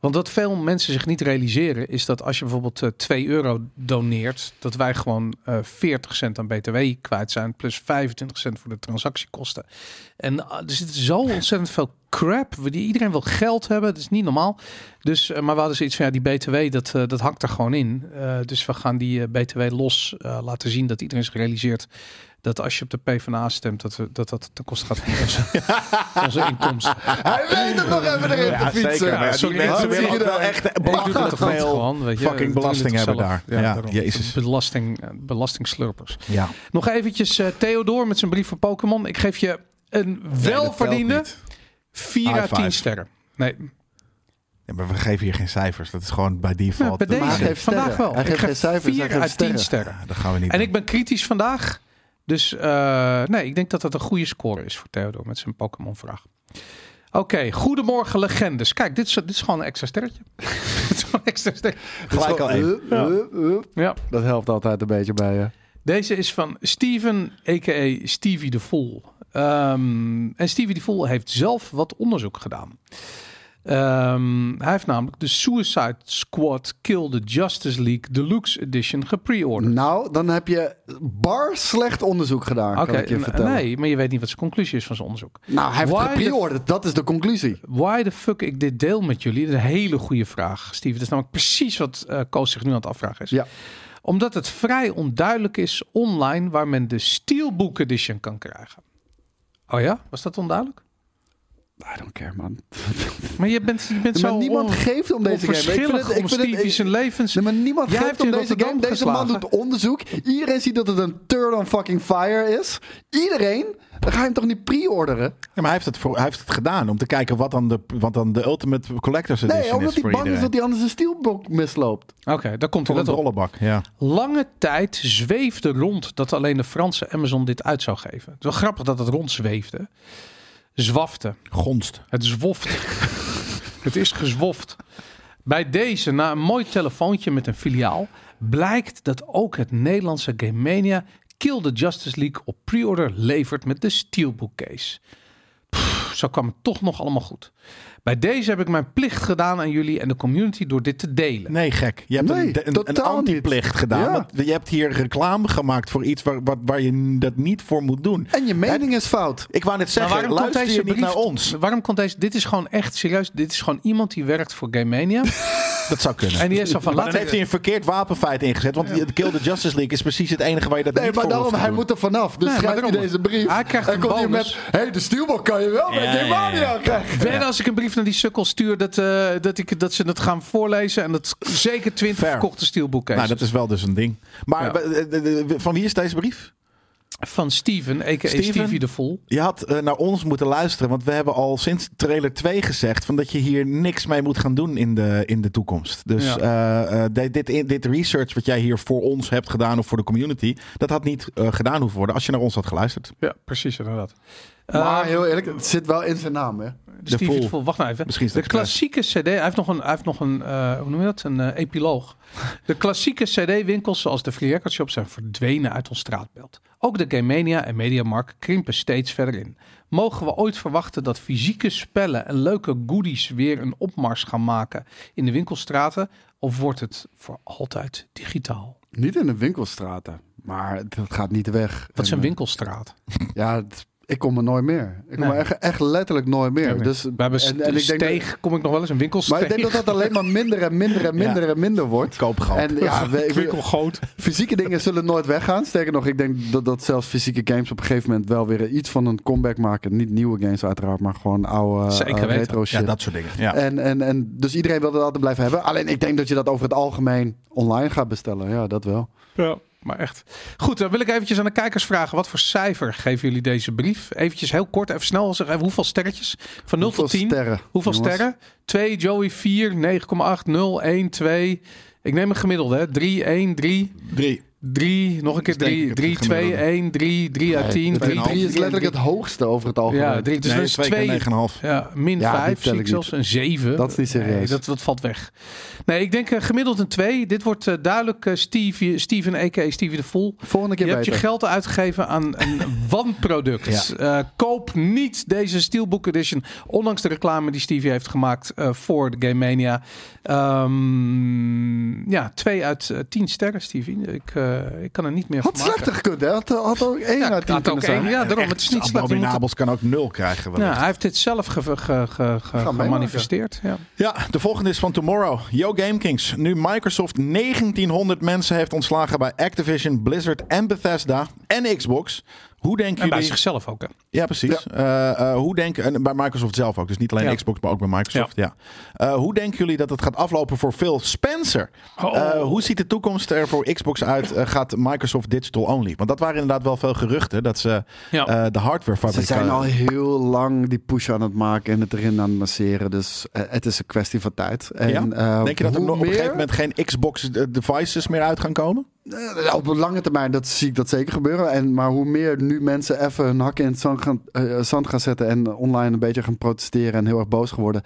Want wat veel mensen zich niet realiseren is dat als je bijvoorbeeld eh, 2 euro doneert, dat wij gewoon eh 40 cent aan BTW kwijt zijn, plus 25 cent voor de transactiekosten. En ah, er zit zo ontzettend veel crap. We- die- Iedereen wil geld hebben, dat is niet normaal. Dus, eh, maar we hadden zoiets van, ja, die BTW, dat, eh, dat hangt er gewoon in. Eh, dus we gaan die eh, BTW los eh, laten zien, dat iedereen zich realiseert dat als je op de PvdA stemt, dat we- dat, dat ten koste gaat van onze, onze inkomsten.
Hij weet het nog even erin te fietsen.
Maar ja,
sorry,
die mensen
dat zie
willen ook
je
wel
dan.
echt
Ik doe dat
belachelijk
gewoon,
veel
gewoon, weet je.
fucking
We doen het
belasting hebben daar.
zelf.
Ja,
daarom.
jezus.
Belasting, eh, belastingslurpers.
Ja.
Nog eventjes eh, Theodor met zijn brief voor Pokémon. Ik geef je een welverdiende 4
High
uit
five.
10 sterren. Nee,
Ja, maar we geven hier geen cijfers. Dat is gewoon bij
nou,
default.
bij
Dat
deze.
is-
hij geeft
vandaag
sterren.
wel.
Hij
Ik
geeft
geef
geen cijfers, hij
4
geeft
uit 10
sterren.
sterren.
Ja, dat gaan we niet
En
doen.
ik ben kritisch vandaag. Dus eh, nee, ik denk dat dat een goede score is voor Theodor met zijn Pokémon-vraag. Oké, goedemorgen legendes. Kijk, dit is, dit is gewoon een extra sterretje. dit is gewoon een extra sterretje.
Gelijk al één.
Dus Hup, hup, hup.
Ja.
Dat helpt altijd een beetje bij je.
Deze is van Steven, a.k.a. Stevie de Fool. Ehm, en Stevie de Fool heeft zelf wat onderzoek gedaan. Ehm, hij heeft namelijk de Suicide Squad Kill the Justice League Deluxe Edition gepreorderd.
Nou, dan heb je bar slecht onderzoek gedaan,
Oké,
kan ik je
n-
vertellen.
nee, maar je weet niet wat zijn conclusie is van zijn onderzoek.
Nou, hij heeft
Why
het gepreorderd. Dat is de conclusie.
Why the fuck ik dit deel met jullie? Dat is een hele goede vraag, Steve. Dat is namelijk precies wat eh, Koos zich nu aan het afvragen is.
Ja.
Omdat het vrij onduidelijk is online waar men de Steelbook Edition kan krijgen. Oh ja? Was dat onduidelijk?
I don't care, man.
Maar je bent, je bent
Maar
zo
niemand
on-
geeft om deze game. Ik vind
onverschillig
het- ik
om
vind het-
Stevie
ik-
zijn levens...
Nee, maar niemand
Jij
geeft
hebt
om
in
deze
Rotterdam
game. Deze man
geslagen.
doet onderzoek. Iedereen ziet dat het een turn on fucking fire is. Iedereen. Dan ga je hem toch niet pre-orderen?
Ja, maar hij heeft, het voor, hij heeft het gedaan om te kijken wat dan de, wat dan de Ultimate Collector's Edition
Nee,
is
omdat
voor
hij bang is dat
iedereen.
hij anders een steelbook misloopt.
Oké, daar komt hij.
Voor
Let
een
op.
rollenbak, ja.
Lange tijd zweefde rond dat alleen de Franse Amazon dit uit zou geven. Het is wel grappig dat het rondzweefde. Zwafte.
Gonst.
Het zwoft. het is gezwoft. Bij deze, na een mooi telefoontje met een filiaal, blijkt dat ook het Nederlandse Game Mania Kill the Justice League op pre-order levert met de Steelbook case. Pff, zo kwam het toch nog allemaal goed. Bij deze heb ik mijn plicht gedaan aan jullie en de community door dit te delen.
Nee, gek. Je hebt
Nee,
een, een, een
totaal niet.
antiplicht gedaan.
Ja.
want je hebt hier reclame gemaakt voor iets waar, waar, waar je dat niet voor moet doen.
En je mening is fout.
Ik wou net
Maar
zeggen, luister je niet
brief-
naar ons?
Waarom komt deze? Dit is gewoon echt serieus. Dit is gewoon iemand die werkt voor Game Mania.
Dat zou kunnen.
en die is zo van
Maar
laten
dan heeft hij een verkeerd wapenfeit ingezet. Want de Kill the Justice League is precies het enige waar je dat
Nee,
niet
maar
voor
daarom,
hoeft te
hij
doen.
moet er vanaf. Dus
Nee, maar
schrijft hij
daarom.
deze brief.
Hij krijgt
en
een
komt hij
bonus.
met, hey, de steelbook kan je wel met
Ja,
Game
ja, ja.
Mania krijgen.
Ben als ik een brief naar die sukkel stuur dat, eh, dat, ik, dat ze het gaan voorlezen. En dat zeker 20
Fair.
verkochte steelboeken
Nou, dat is wel dus een ding. Maar
Ja.
we- eh, de- de- van wie is deze brief?
Van Steven, a.k.a.
Steven?
Stevie de Vol.
Je had eh, naar ons moeten luisteren. Want we hebben al sinds trailer 2 gezegd... Van dat je hier niks mee moet gaan doen in de, in de toekomst. Dus
Ja.
eh, eh, dit, dit, in- dit research wat jij hier voor ons hebt gedaan... of voor de community... dat had niet eh, gedaan hoeven worden als je naar ons had geluisterd.
Ja, precies inderdaad.
Maar
Eh,
Ehm,
heel eerlijk, het zit wel in zijn naam, hè.
Stevie
Vol.
de Vol, wacht nou even.
Misschien is
de
dat
klassieke CD, hij heeft nog een, hij heeft nog een eh, hoe noem je dat? Een eh, epiloog. De klassieke CD-winkels zoals de Free Record Shop zijn verdwenen uit ons straatbeeld. Ook de Game Mania en Mediamarkt krimpen steeds verder in. Mogen we ooit verwachten dat fysieke spellen en leuke goodies weer een opmars gaan maken in de winkelstraten? Of wordt het voor altijd digitaal?
Niet in de winkelstraten. Maar het het gaat niet weg.
Wat is
En,
een
eh,
winkelstraat?
Ja, het- ik kom er nooit meer. Ik kom
Nee.
er echt, echt letterlijk nooit meer. Dus,
We hebben
en-
en,
en ik denk
steeg, kom ik nog wel eens een winkelsteeg.
Maar ik denk dat dat alleen maar minder en minder en minder en minder wordt.
Oh.
Koopgrap.
En ja, we- ik-
winkelgoot.
fysieke dingen zullen nooit weggaan. Sterker nog, ik denk dat, dat zelfs fysieke games op een gegeven moment wel weer iets van een comeback maken. Niet nieuwe games uiteraard, maar gewoon oude
Zeker
eh,
weten.
retro shit.
Ja, dat soort dingen.
Eh,
Ja.
en, en, en, dus iedereen wil dat altijd blijven hebben. Alleen ik denk dat je dat over het algemeen online gaat bestellen. Ja, dat wel.
Ja, maar echt. Goed, dan wil ik eventjes aan de kijkers vragen. Wat voor cijfer geven jullie deze brief? Eventjes heel kort, even snel. Zeg even hoeveel sterretjes? Van 0
Hoeveel
tot 10.
sterren?
hoeveel
jongens?
sterren? 2, Joey 4, 9,8, 0, 1, 2. Ik neem een gemiddelde, hè. 3, 1, 3,
Drie.
3, nog een keer
Dat is denk
3,
ik
2,
het gemiddelde.
1, 3, 3 uit 10.
dat
3
3,5.
3 is letterlijk het hoogste over het algemeen.
Ja, 3
Nee,
dus
2
2
keer 9,5.
Ja, min
Ja, die
5
tel
zie
ik
ik
niet.
zelfs een 7.
Dat is niet serieus.
Nee, dat, dat valt weg. Nee, ik denk eh, gemiddeld een 2. Dit wordt eh, duidelijk eh, Stevie, Steven a.k.a. Stevie de Fool.
Volgende
Je
keer
hebt
beter.
je geld uitgegeven aan een wanproduct. Eh, koop niet deze Steelbook Edition. Ondanks de reclame die Stevie heeft gemaakt eh, voor de Game Mania. Ehm, ja, 2 uit 10 sterren, Stevie. Ik, eh, ik kan er niet meer
had
van maken.
slechter gekund, hè? Had, had ook één
Ja,
uit tien
had ook
kunnen zijn.
één. Ja, daarom. Het is niet slecht. Je moet het-
Abominabels kan ook 0 krijgen.
Ja,
wellicht.
hij heeft dit zelf ge- ge- ge- ge- gemanifesteerd. Ja.
Ja, de volgende is van Tomorrow. Yo GameKings. Nu Microsoft 1900 mensen heeft ontslagen bij Activision, Blizzard en Bethesda en Xbox. Hoe denken
En bij
jullie...
zichzelf ook. Hè.
Ja, precies. Eh, eh, hoe denken... en bij Microsoft zelf ook. Dus niet alleen
Ja.
Xbox, maar ook bij Microsoft. Ja. Eh, hoe denken jullie dat het gaat aflopen voor Phil Spencer?
Oh.
Eh, hoe ziet de toekomst er voor Xbox uit? Eh, gaat Microsoft digital only? Want dat waren inderdaad wel veel geruchten. Dat ze
Ja.
eh, de eh, hardware
Ze
fabriek...
zijn al heel lang die push aan het maken en het erin aan het masseren. Dus eh, het is een kwestie van tijd. En,
Ja?
eh,
Denk je dat er
hoe
nog op een
meer-
gegeven moment geen Xbox eh, devices meer uit gaan komen?
Eh, op een lange termijn dat zie ik dat zeker gebeuren. En, maar hoe meer nu mensen even hun hakken in het zand gaan, eh, zand gaan zetten en online een beetje gaan protesteren en heel erg boos geworden,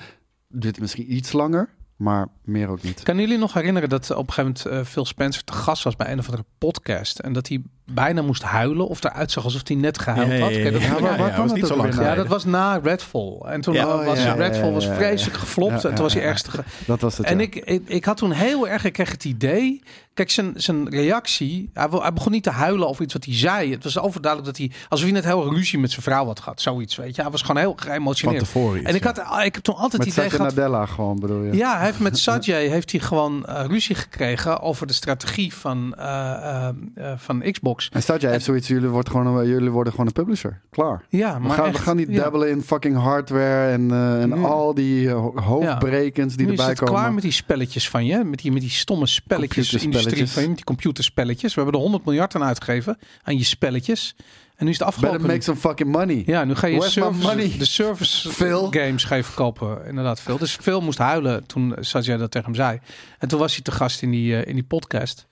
duurt het misschien iets langer, maar meer ook niet.
Kan jullie nog herinneren dat op een gegeven moment eh, Phil Spencer te gast was bij een of andere podcast. En dat hij bijna moest huilen of eruit zag alsof hij net gehuild had. Ken je dat?
ja,
Ja,
maar waar kwam
was
het
niet zo
ook
lang
weer naar?
geleden.
dat was na Redfall. En toen
Ja.
eh, was
Oh, ja,
Redfall
ja,
was
ja, ja,
vreselijk geflopt.
Ja,
en toen was
ja,
hij
ja.
ergste. ge-
Dat was het.
En
ja.
ik, ik, ik had toen heel erg, ik kreeg het idee. Kijk, zijn, zijn reactie. Hij, wil- hij begon niet te huilen over iets wat hij zei. Het was overduidelijk dat hij. alsof hij net heel erg ruzie met zijn vrouw had gehad. Zoiets, weet je. Hij was gewoon heel
Van
geëmotioneerd.
tevoren iets,
En ik,
ja.
had, ik heb toen altijd
Met
het idee
Satya
gehad.
Nadella gewoon bedoel je.
Ja, hij heeft met Sanjay heeft hij gewoon eh, ruzie gekregen over de strategie van, eh, eh, eh, van Xbox.
En Satya heeft zoiets, jullie, wordt gewoon een- jullie worden gewoon een publisher. Klaar.
Ja,
We
maar
gaan,
echt,
we gaan niet
ja.
dabbelen in fucking hardware en, eh, en
Nu-
al die eh, ho- hoofdbrekens die
Nu is
erbij
het
komen.
klaar met die spelletjes van je. Met die, met die stomme spelletjes industrie
Computerspelletjes.
van je. Met die computerspelletjes. We hebben er 100 miljard aan uitgegeven. Aan je spelletjes. En nu is het
Better
afgelopen.
make some fucking money.
Ja, nu ga je
Where's my
service,
money?
de service
Phil?
games ga je verkopen. Inderdaad, veel. Dus veel moest huilen toen Sajja dat tegen hem zei. En toen was hij te gast in die, eh, in die podcast.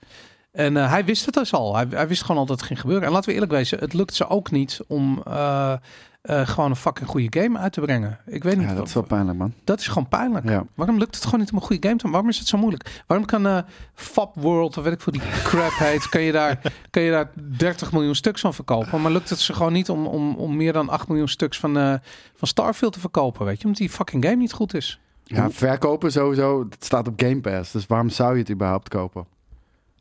En eh, hij wist het dus al. Hij, hij wist gewoon al dat het ging gebeuren. En laten we eerlijk wezen, het lukt ze ook niet om eh, eh, gewoon een fucking goede game uit te brengen. Ik weet niet.
Ja, dat
wat-
is wel pijnlijk, man.
dat is gewoon pijnlijk.
Ja.
Waarom lukt het gewoon niet om een goede game te maken? Waarom is het zo moeilijk? Waarom kan eh Fab World, of weet ik veel, die crap heet, kan je, daar, kan je daar 30 miljoen stuks van verkopen? Maar lukt het ze gewoon niet om, om, om meer dan 8 miljoen stuks van, eh, van Starfield te verkopen? Weet je, omdat die fucking game niet goed is.
Ja, verkopen sowieso, het staat op Game Pass. Dus waarom zou je het überhaupt kopen?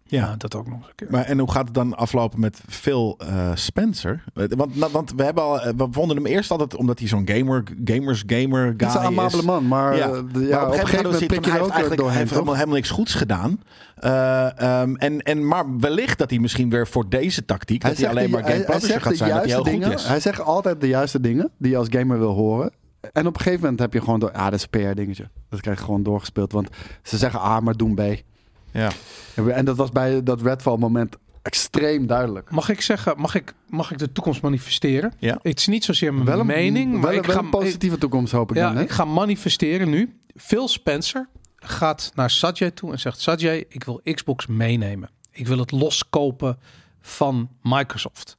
Ja.
dat ook nog eens een keer.
Maar en hoe gaat het dan aflopen met Phil eh, Spencer? Want, nou, want we, hebben al, eh, we vonden hem eerst altijd omdat hij zo'n gamer, gamers gamer
Het
guy
is een amabele
is.
man, maar,
Ja.
eh, de- ja,
maar
op een gegeven
hadden we
moment
zoiets
pik je er
van,
ook
hij heeft eigenlijk
doorheen,
hij heeft
toch?
helemaal, helemaal niks goeds gedaan. Eh, ehm, en, en, maar wellicht dat hij misschien weer voor deze tactiek... dat hij alleen
de-
maar game publisher gaat
de
zijn, dat hij heel
juiste dingen.
goed is.
Hij zegt altijd de juiste dingen die je als gamer wil horen. En op een gegeven moment heb je gewoon door, ah, dat is een PR-dingetje. Dat krijg je gewoon doorgespeeld. Want ze zeggen A, maar doen B.
Ja.
En dat was bij dat Redfall-moment extreem duidelijk.
Mag ik zeggen, mag ik, mag ik de toekomst manifesteren?
Ja.
Het is niet zozeer mijn
Wel een
mening, maar
wel,
ik
wel
ga
een positieve toekomst hoop ik
Ja,
dan. Hè?
ik ga manifesteren nu. Phil Spencer gaat naar Sajay toe en zegt: Sajay, ik wil Xbox meenemen. Ik wil het loskopen van Microsoft.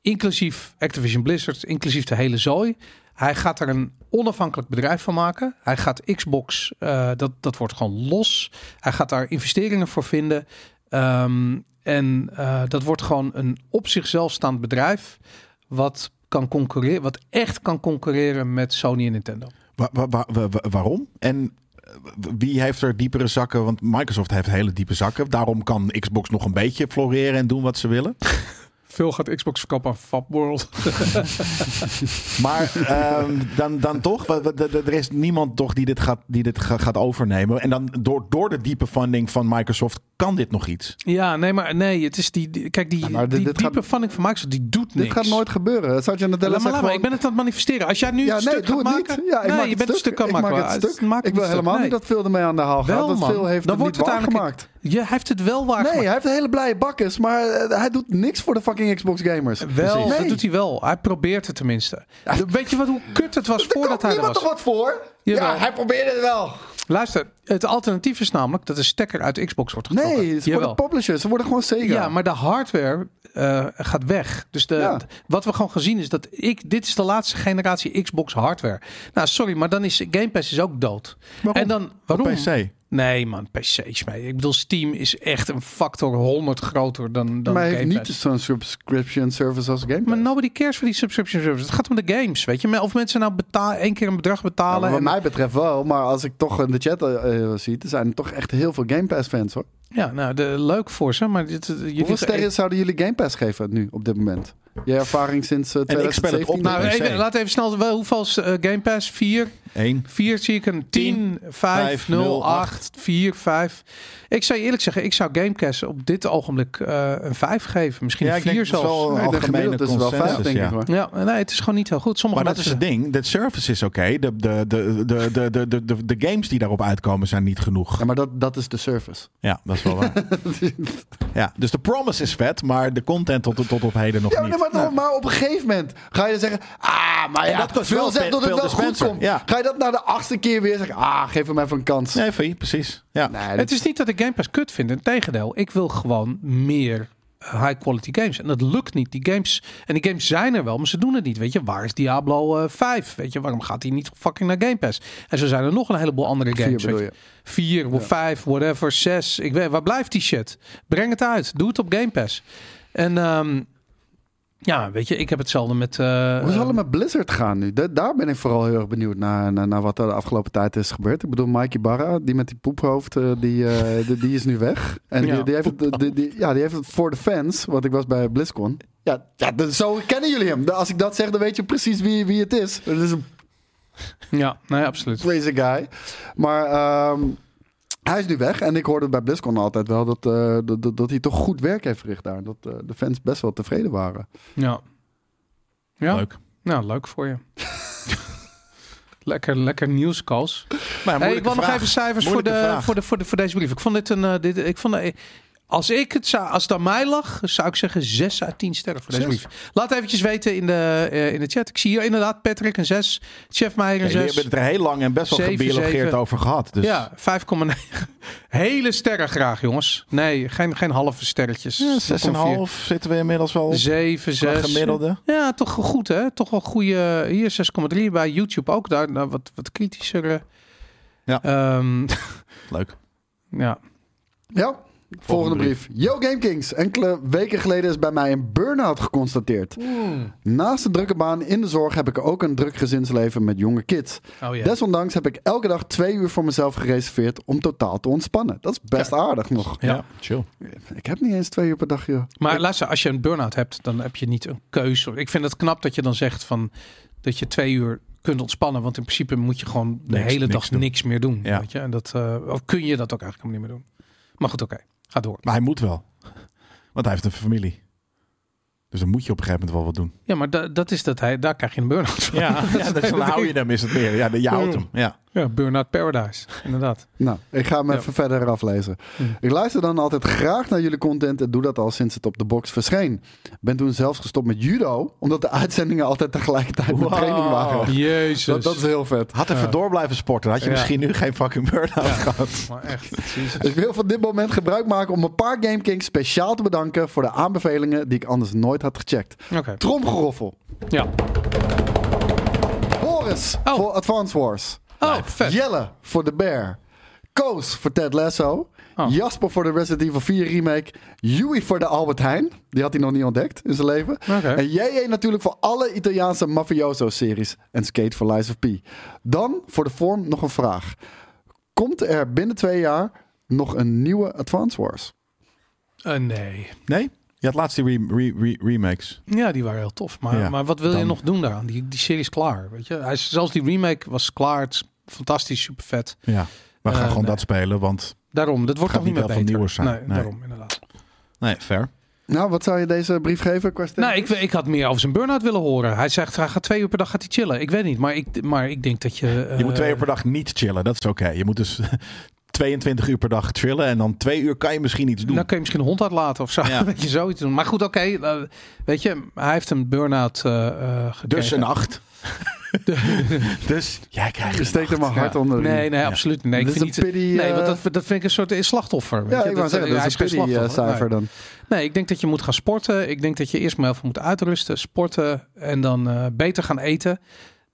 Inclusief Activision Blizzard, inclusief de hele zooi. Hij gaat er een onafhankelijk bedrijf van maken. Hij gaat Xbox, eh, dat, dat wordt gewoon los. Hij gaat daar investeringen voor vinden. Ehm, en eh, dat wordt gewoon een op zichzelf staand bedrijf. Wat, kan concurreren, wat echt kan concurreren met Sony en Nintendo.
Wa- wa- wa- wa- wa- waarom? En eh, wie heeft er diepere zakken? Want Microsoft heeft hele diepe zakken. Daarom kan Xbox nog een beetje floreren en doen wat ze willen.
Veel gaat Xbox verkopen aan Fab World.
Maar ehm, dan, dan toch, wa- wa- d- d- er is niemand toch die dit gaat, die dit ga- gaat overnemen. En dan door, door de diepe funding van Microsoft kan dit nog
Oh
iets.
Ja, nee, maar nee, het is die. die- kijk, die,
Ja, maar dit-
die
dit
diepe
gaat-
funding van Microsoft, die doet
Dit
niks.
gaat nooit gebeuren. Satya
Laat
Nadella
maar,
zegt
laat maar, ik
gewoon...
ben het aan het manifesteren. Als jij nu
Ja,
het
nee,
stuk
doe
gaat
het
maken,
niet. Ja, ik
nee,
maak
je
het
bent een stuk aan het
Ik
maken.
maak het
Ah,
stuk.
maak
Ik wil
het
helemaal
stuk.
niet dat Phil ermee aan de haal
Wel,
gaat. Want
man.
Phil heeft
Dan
het
wordt
niet
het eigenlijk-
waargemaakt.
Nee, je heeft het wel waar.
Nee,
gemaakt.
hij heeft een hele blije bakkes, maar eh, hij doet niks voor de fucking Xbox gamers.
wel,
Nee.
dat doet hij wel. Hij probeert het tenminste. Weet je wat hoe kut het was
Er
voordat
komt
hij er
niemand
was?
toch wat voor?
Jawel.
Ja, hij probeerde het wel.
Luister, het alternatief is namelijk dat de stekker uit de Xbox wordt getrokken.
Nee, ze
Jawel.
worden publishers. Ze worden gewoon Sega.
Ja, maar de hardware eh, gaat weg. Dus de,
Ja.
wat we gewoon gezien is dat ik, dit is de laatste generatie Xbox hardware. Nou, sorry, maar dan is Game Pass is ook dood.
Waarom?
En dan
Op
waarom?
PC.
Nee, man, PC is mee. Ik bedoel, Steam is echt een factor 100 groter dan, dan
maar hij
Game
heeft
Pass.
niet zo'n subscription service als Game Pass.
Maar nobody cares voor die subscription service. Het gaat om de games, weet je. Of mensen nou betaal, één keer een bedrag
Ja,
betalen.
maar wat
en-
mij betreft wel, maar als ik toch in de chat eh, zie, er zijn toch echt heel veel Game Pass fans hoor.
Ja, nou, de, leuk voor ze. Maar dit, eh, je
Hoeveel sterren
e-
zouden jullie Game Pass geven nu op dit moment? Je ervaring sinds eh,
speel het
2017?
op de-
Nou,
Nee,
even,
nee.
laat even snel. wel, Hoeveel is eh, Game Pass? 4?
Eén.
4 zie ik een 10, 5, 0, 8, 4, 5. Ik zou je eerlijk zeggen, ik zou Gamecast op dit ogenblik eh, een 5 geven. Misschien
Ja,
een
ik denk
4
dat is
zelfs.
wel een
Nee, de
algemene
gemiddeld is wel vijf,
consensus.
denk
ja.
ik hoor.
Ja, nee, het is gewoon niet heel goed. Sommige
Maar dat is
mensen...
het ding. Dat service is oké. De, de, de, de, de, de, de, de, de games die daarop uitkomen zijn niet genoeg.
Ja, maar dat, dat is de service.
Ja, dat is wel waar. ja, dus de promise is vet, maar de content tot, tot op heden nog
Ja, maar,
niet.
nee, maar, maar op een gegeven moment ga je zeggen, ah, maar ja,
Nou. dat kost
Phil
wel
zegt dat het
Phil
wel goed
Spencer,
komt.
ja.
Ga je dat na de achtste keer weer zeggen, ah, geef hem even een kans.
Nee, Fie, precies. Ja.
Nee,
Het is niet dat ik Game Pass kut vind. Integendeel, ik wil gewoon meer high quality games. En dat lukt niet. Die games, en die games zijn er wel, maar ze doen het niet. Weet je, waar is Diablo eh, 5? Weet je, waarom gaat hij niet fucking naar Game Pass? En zo zijn er nog een heleboel andere
Vier
games.
bedoel
weet je. Vier, of vijf, whatever, zes. Ik weet, waar blijft die shit? Breng het uit. Doe het op Game Pass. En ehm, ja, weet je, ik heb hetzelfde met... eh,
Hoe zal het met Blizzard gaan nu? Da- daar ben ik vooral heel erg benieuwd naar, naar, naar wat er de afgelopen tijd is gebeurd. Ik bedoel, Mikey Barra, die met die poephoofd, eh, die, eh, die, die is nu weg. En
Ja,
die, die, heeft het, die, die- ja, die heeft het voor de fans, want ik was bij BlizzCon. Ja, ja dat- zo kennen jullie hem. Als ik dat zeg, dan weet je precies wie, wie het is. Het is een
ja, nee, absoluut.
crazy guy. Maar ehm, hij is nu weg. En ik hoorde bij BlizzCon altijd wel dat, eh, dat, dat, dat hij toch goed werk heeft verricht daar. Dat eh, de fans best wel tevreden waren.
Ja. ja.
Leuk.
Nou, leuk voor je. lekker, lekker nieuwscalls.
Maar
Hey, ik wil nog even cijfers voor,
Moeilijke
de,
vraag.
voor, de, voor, de, voor deze brief. Ik vond dit een. eh, dit, ik vond, eh, als, ik het zou, als het aan mij lag, zou ik zeggen 6 uit 10 sterren voor deze
Zes?
brief. Laat eventjes weten in de, eh, in de chat. Ik zie hier inderdaad Patrick een 6, Chef Meijer
Ja,
een
jullie
6.
hebben het er heel lang en best wel
Zeven,
gebiologeerd
zeven.
over gehad. Dus
Ja, 5,9. Hele sterren graag, jongens. Nee, geen, geen halve sterretjes.
Ja, 6,5 zitten we inmiddels wel op
7,
qua
6.
gemiddelde.
Ja, toch wel goed, hè? Toch wel goede. Hier 6,3 bij YouTube ook. Daar nou, wat, wat kritischer. eh.
Ja.
Ehm,
Leuk.
ja.
Ja, volgende, brief. Yo GameKings, enkele weken geleden is bij mij een burn-out geconstateerd.
Hmm.
Naast de drukke baan in de zorg heb ik ook een druk gezinsleven met jonge kids.
Oh ja.
Desondanks heb ik elke dag twee uur voor mezelf gereserveerd om totaal te ontspannen. Dat is best aardig nog.
Ja.
chill.
Ik heb niet eens twee uur per dag, joh.
Maar luister, als je een burn-out hebt, dan heb je niet een keuze. Ik vind het knap dat je dan zegt van dat je twee uur kunt ontspannen. Want in principe moet je gewoon de
Niks-
hele dag
niks
niks,
doen.
meer doen.
Ja.
Weet je? En dat, eh, of kun je dat ook eigenlijk helemaal niet meer doen. Maar goed, oké. Ga door.
Maar hij moet wel. Want hij heeft een familie. Dus dan moet je op een gegeven moment wel wat doen.
Ja, maar da- dat is dat hij, daar krijg je een burn-out van.
Ja, dus dan hou je hem is het meer. Ja, je houdt hem. Ja.
Ja, burn-out paradise. Inderdaad.
Nou, ik ga hem
Ja.
even verder aflezen. Ik luister dan altijd graag naar jullie content en doe dat al sinds het op de box verscheen. Ben toen zelfs gestopt met judo, omdat de uitzendingen altijd tegelijkertijd met
Wow.
training
Oh.
waren.
Jezus.
Dat, dat is heel vet.
Had even door blijven sporten. Had je
Ja.
misschien nu geen fucking burn-out gehad.
Maar echt. Jezus.
Dus Ik wil van dit moment gebruik maken om een paar GameKings speciaal te bedanken voor de aanbevelingen die ik anders nooit had gecheckt.
Oké.
Tromgeroffel.
Ja.
Boris
Oh.
voor Advance Wars.
Oh, vet.
Jelle voor The Bear. Koos voor Ted Lasso.
Oh.
Jasper voor de Resident Evil 4 remake. Yui voor de Albert Heijn. Die had hij nog niet ontdekt in zijn leven.
Oké.
En JJ natuurlijk voor alle Italiaanse mafioso-series. En Skate voor Lies of P. Dan voor de vorm nog een vraag. Komt er binnen twee jaar nog een nieuwe Advance Wars?
Eh, nee.
Nee? Je had laatst die re- re- re- remakes.
Ja, die waren heel tof. Maar,
Ja,
maar wat wil je
dan-
nog doen daaraan? Die, die serie is klaar. Weet je? Hij is, zelfs die remake was klaar. Het is fantastisch, super vet.
Ja. We gaan
Eh,
gewoon
nee.
dat spelen, want...
Daarom, dat wordt
Gaat
toch niet
niet
meer
wel van
beter.
nieuws zijn.
Nee,
Nee.
daarom inderdaad.
Nee, fair.
Nou, wat zou je deze brief geven? Qua sterren?
Nou, ik, ik had meer over zijn burn-out willen horen. Hij zegt, hij gaat twee uur per dag gaat hij chillen. Ik weet niet, maar ik, maar ik denk dat je... eh,
Je moet twee uur per dag niet chillen, dat is oké. Je moet dus 22 uur per dag chillen en dan twee uur kan je misschien iets doen.
eh, Dan kun je misschien een hond uitlaten of zo.
Ja.
Weet je, zoiets doen. Maar goed, oké. eh, weet je, hij heeft een burn-out eh, eh, gekregen.
dus een Dus acht. dus jij krijgt
Je
het.
steekt er maar hard onder. de
Nee,
riem.
nee, absoluut. niet. Nee, ik
Dat
vind
is een
niet,
pity,
nee
eh,
want dat, dat vind ik een soort eh, slachtoffer. weet
Ja,
je.
ik wou zeggen, dat
hij
is een
geen
pity eh,
slachtoffer.
cijfer dan.
Nee, ik denk dat je moet gaan sporten. Ik denk dat je eerst maar heel veel moet uitrusten, sporten en dan eh, beter gaan eten.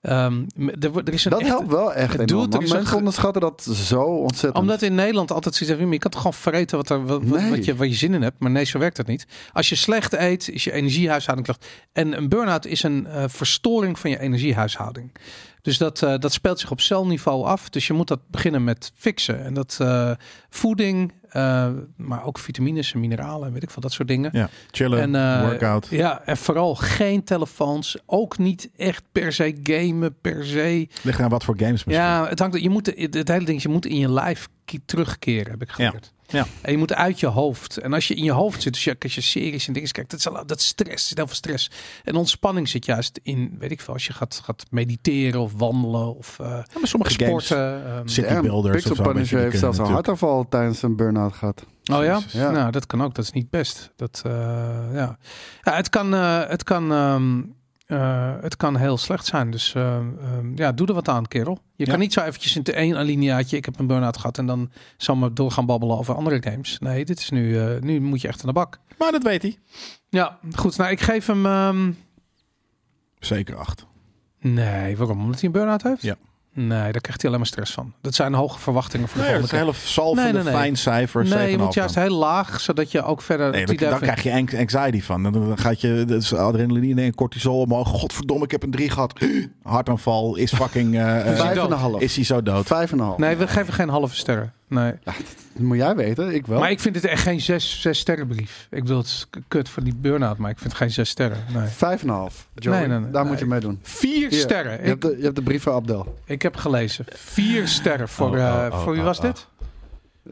Ehm, m- er, wordt- er is een
Dat
echte-
helpt wel echt
het
enorm.
doel, er
man.
is een
Mensen
ge-
onderschatten dat zo ontzettend.
Omdat in Nederland altijd zoiets hebben, je kan toch gewoon vreten wat, er, wat, wat-
Nee.
wat je, wat je zin in hebt. Maar nee, zo werkt dat niet. Als je slecht eet, is je energiehuishouding slecht. En een burn-out is een eh, verstoring van je energiehuishouding. Dus dat, eh, dat speelt zich op celniveau af. Dus je moet dat beginnen met fixen. En dat eh, voeding, eh, maar ook vitamines en mineralen, weet ik veel, dat soort dingen.
Ja, chillen,
En, eh,
workout.
Ja, en vooral geen telefoons. Ook niet echt per se gamen, per se.
Ligt aan wat voor games misschien.
Ja, het hangt. Je moet het het hele ding. is, Je moet in je lijf ki- terugkeren. Heb ik geleerd.
Ja.
En je moet uit je hoofd. En als je in je hoofd zit, dus je, als je series en dingen kijkt, dat is, al- dat is stress. Er zit heel veel stress. En ontspanning zit juist in, weet ik veel, als je gaat, gaat mediteren of wandelen of eh,
Ja, maar sommige games,
sporten. ehm.
city builders
Pixel
of zo. weet je,
Punisher
die
heeft
kunnen
zelfs een
natuurlijk-
hartaanval tijdens een burn-out gehad.
Oh ja?
Jezus.
Ja.
Nou, dat kan ook. Dat is niet best. Dat, eh, ja. ja, het kan, eh, het kan, ehm, eh, het kan heel slecht zijn. Dus ehm, ehm, ja, doe er wat aan, kerel. Je
Ja.
kan niet zo eventjes in het één alineaatje, ik heb een burn-out gehad en dan zal maar door gaan babbelen over andere games. Nee, dit is nu, eh, nu moet je echt aan de bak.
Maar dat weet hij.
Ja, goed. Nou, ik geef hem. ehm,
Zeker acht.
nee, waarom? Omdat hij een burn-out heeft?
Ja.
Nee, daar krijgt hij alleen maar stress van. Dat zijn hoge verwachtingen voor de
Nee, dat is
volgende
een
keer.
hele salvende,
Nee, nee, nee.
fijn cijfer.
Nee, je
7,5
moet juist
dan.
heel laag, zodat je ook verder.
Nee,
op
dan,
die
dan
dertig-
krijg je anx- anxiety van. Dan- Dan gaat je dat is adrenaline en cortisol omhoog. Godverdomme, ik heb een 3 gehad. Hartaanval is fucking... eh, eh,
Vijf en
dood?
een half.
is hij zo dood?
Vijf en een half.
Nee, we geven geen halve sterren. Nee.
Dat moet jij weten, ik wel.
Maar ik vind het echt geen zes, zes sterrenbrief. Ik bedoel, het is k- kut van die burn-out, maar ik vind het geen zes sterren. Nee.
Vijf en een half. Joey,
Nee, nee, nee,
daar
nee.
moet je mee doen.
Vier
Hier,
sterren.
Je
Ik,
hebt, de, je hebt de brief van Abdel.
ik heb gelezen. Vier sterren voor,
Oh, oh,
eh,
oh,
voor wie
oh,
was
oh.
dit?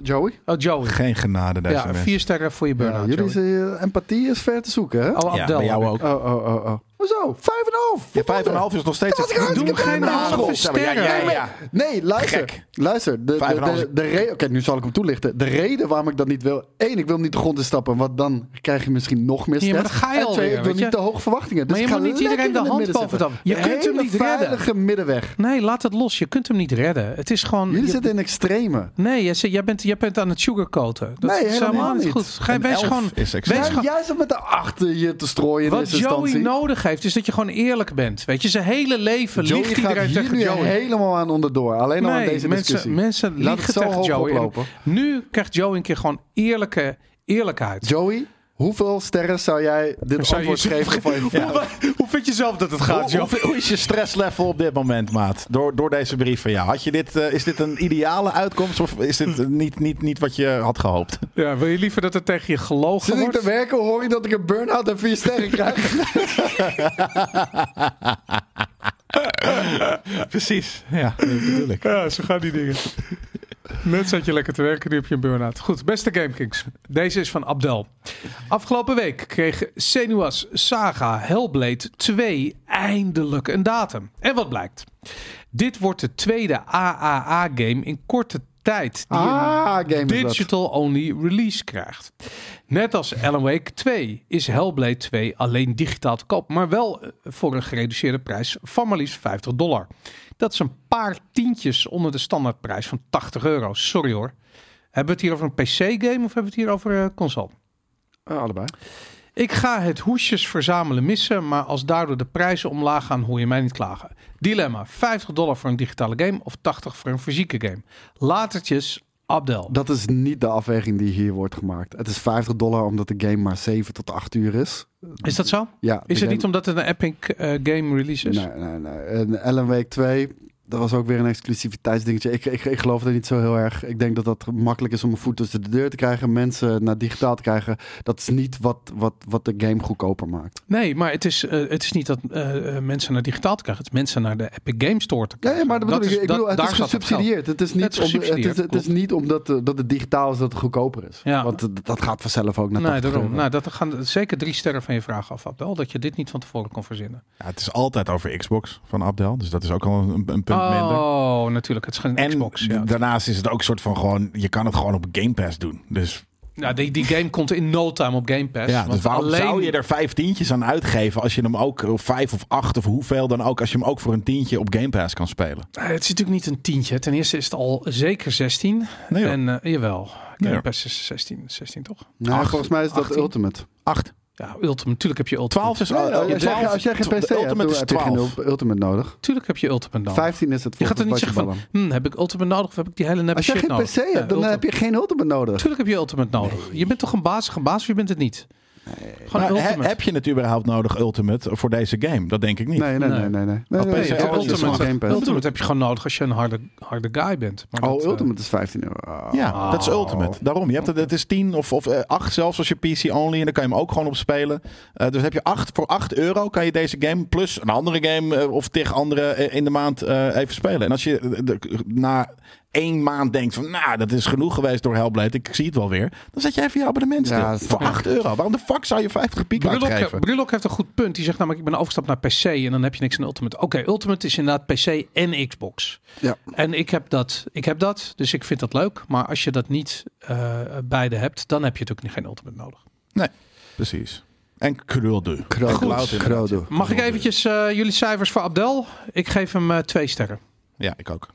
Joey?
Oh, Joey.
Geen genade deze
Ja,
mensen.
vier sterren voor je
Ja,
burn-out.
jullie
Joey.
zijn- empathie is ver te zoeken, hè?
Oh,
Ja,
Abdel.
bij jou
heb ik.
ook.
Oh, oh, oh, oh. Hoezo? Vijf en een half.
Ja, vijf en een half is nog steeds...
Dat was ik hartstikke
Doe
blij mee.
halve
Ja, maar jij-
sterren.
jij-
ja.
Nee, luister.
Gek.
Luister. De,
Vijf en
de,
een half
de, de re- Oké, nu zal ik hem toelichten. De reden waarom ik dat niet wil. één, ik wil hem niet de grond instappen. Want dan krijg je misschien nog meer
Ja,
stress.
maar dan ga je
en twee,
alweer,
ik wil
weet je.
niet te hoog verwachtingen. Dus
Maar je
ik ga
moet niet
lekker
iedereen de
in het
hand
midden
boven
zitten.
het hoofd. Je
Een
kunt hem
hele
niet redden.
veilige middenweg.
Nee, laat het los. Je kunt hem niet redden. Het is gewoon...
Jullie
Hm. je-
zitten in extreme.
Nee, jij, zegt- jij, bent, jij bent aan het sugarcoaten. Dat
Nee,
is
helemaal
helemaal niet
niet.
goed. Ga,
Een
wees
elf
gewoon...
is extreem.
Wees
Deze
Jij,
gewoon
jij zit met de achter je te strooien in
Wat
eerste
Joey nou
instantie.
nodig heeft, is dat je gewoon eerlijk bent. Weet je, zijn hele leven
Joey
liegt
gaat
iedereen
hier
tegen
nu
Joey.
helemaal aan onderdoor. Alleen al aan
Nee,
deze discussie.
mensen, mensen
Laat
liegen
het zo
tegen
hoog
Joey. En
oplopen.
Nu krijgt Joey een keer gewoon eerlijke eerlijkheid.
Joey, hoeveel sterren zou jij dit
Zou je
antwoord
zo-
geven van je
Hoe, hoe vind je zelf dat het gaat,
Hoe,
Joey?
hoe, hoe is je stresslevel op dit moment, maat? Door, door deze brief van jou. Had je dit, eh, is dit een ideale uitkomst of is dit eh,
Hm.
niet, niet, niet wat je had gehoopt?
Ja, wil je liever dat het tegen je
Zit
gelogen
ik te
wordt?
werken, hoor je dat ik een burn-out en vier sterren krijg?
Precies, ja, natuurlijk.
Ja, zo gaan die dingen. Net zat je lekker te werken, nu heb je een burn-out. Goed, beste GameKings. Deze is van Abdel. Afgelopen week kreeg Senua's Saga Hellblade 2 eindelijk een datum. En wat blijkt? Dit wordt de tweede AAA-game in korte tijd die een
Ah, game is dat.
digital-only release krijgt. Net als Alan Wake 2 is Hellblade 2 alleen digitaal te koop, maar wel eh, voor een gereduceerde prijs van maar liefst 50 dollar. Dat is een paar tientjes onder de standaardprijs van 80 euro. Sorry hoor. Hebben we het hier over een PC-game of hebben we het hier over eh, console?
Eh, allebei.
Ik ga het hoesjes verzamelen missen, maar als daardoor de prijzen omlaag gaan, hoor je mij niet klagen. Dilemma: 50 dollar voor een digitale game of 80 voor een fysieke game. Latertjes, Abdel.
Dat is niet de afweging die hier wordt gemaakt. Het is 50 dollar omdat de game maar 7 tot 8 uur is.
Is dat zo?
Ja,
Is
de
het niet
game-
omdat het een Epic eh, game release is?
Nee, nee, nee. En Ellen Week 2, dat was ook weer een exclusiviteitsdingetje. Ik, ik, ik geloof dat niet zo heel erg. Ik denk dat dat makkelijk is om een voet tussen de deur te krijgen. Mensen naar digitaal te krijgen. Dat is niet wat, wat, wat de game goedkoper maakt.
Nee, maar het is, eh, het is niet dat eh, eh, mensen naar digitaal te krijgen. Het is mensen naar de Epic Game Store te
Ja,
krijgen.
ja maar dat bedoel
Dat
ik.
is-
ik bedoel,
dat-
het is
daar gaat het geld.
gesubsidieerd. Het is niet,
Het is
om- het is,
gesubsidieerd,
het is niet omdat, eh, dat het digitaal is dat het goedkoper is.
Ja.
Want eh, dat gaat vanzelf ook naar
Nee,
80
daarom.
euro.
Nou, dat gaan zeker drie sterren van je vraag af, Abdel. Dat je dit niet van tevoren kon verzinnen.
Ja, het is altijd over Xbox van Abdel, dus dat is ook al een, een punt minder.
oh, natuurlijk. Het is geen
En
Xbox.
d-
Ja.
daarnaast is het ook soort van gewoon, je kan het gewoon op Game Pass doen. Dus
Nou, die, die game komt in no time op Game Pass.
Ja,
want
dus waarom
alleen,
zou je er vijf tientjes aan uitgeven als je hem ook, of vijf of acht of hoeveel dan ook, als je hem ook voor een tientje op Game Pass kan spelen?
Eh, Het is natuurlijk niet een tientje. Ten eerste is het al zeker 16.
Nee joh,
En eh, jawel,
Nee,
Game
joh.
Pass is 16, 16 toch?
Nee,
Acht-
Nou, volgens mij is dat
18.
Ultimate.
acht.
Ja, Ultimate. Natuurlijk heb je Ultimate.
Twaalf is...
Nee,
oh,
als,
twaalf-
je, als jij geen
twa-
PC
de
hebt,
Ultimate
dan
is
heb je geen
twaalf.
ul- Ultimate nodig.
Natuurlijk heb je Ultimate dan.
15 is het
Je gaat
volgens
er niet zeggen van,
basketballen.
hm, heb ik Ultimate nodig of heb ik die hele neppe
Als jij
shit
geen
nodig?
PC hebt, dan heb je geen Ultimate nodig.
Natuurlijk heb je Ultimate nodig. Je bent toch een bazige baas of je bent het niet? Gewoon
Maar he-
Ultimate.
heb je het überhaupt nodig, Ultimate, voor deze game? Dat denk ik niet.
Nee, nee, nee, nee. nee. nee, nee,
PC
nee,
Nee,
is
nee,
alles
Ultimate
gewoon
Ultimate,
Game Pass.
Ultimate heb je gewoon nodig als je een harde, harde guy bent. Maar dat,
Oh,
eh,
Ultimate is 15 euro. Oh.
Ja,
Oh.
dat is Ultimate. Daarom, je hebt het, het is 10 of, of 8 zelfs als je PC only. En dan kan je hem ook gewoon op spelen. Eh, dus heb je 8 voor 8 euro kan je deze game plus een andere game eh, of tegen andere eh, in de maand eh, even spelen. En als je eh, de- na één maand denkt van nou, dat is genoeg geweest door Hellblade. Ik zie het wel weer. Dan zet je even je abonnement stil.
Ja, dat is
voor
waar.
8 euro. Waarom de fuck zou je 50 piek
Brulok,
uitgeven?
Brulok heeft een goed punt. Die zegt namelijk, ik ben overgestapt naar PC en dan heb je niks aan Ultimate. Oké, Ultimate is inderdaad PC en Xbox.
Ja.
En ik heb, dat, ik heb dat, dus ik vind dat leuk. Maar als je dat niet eh, beide hebt, dan heb je natuurlijk geen Ultimate nodig.
Precies. En krulde.
Krodo.
Cloud inderdaad.
Krodo.
Mag ik eventjes eh, jullie cijfers voor Abdel? Ik geef hem eh, twee sterren.
Ja, ik ook.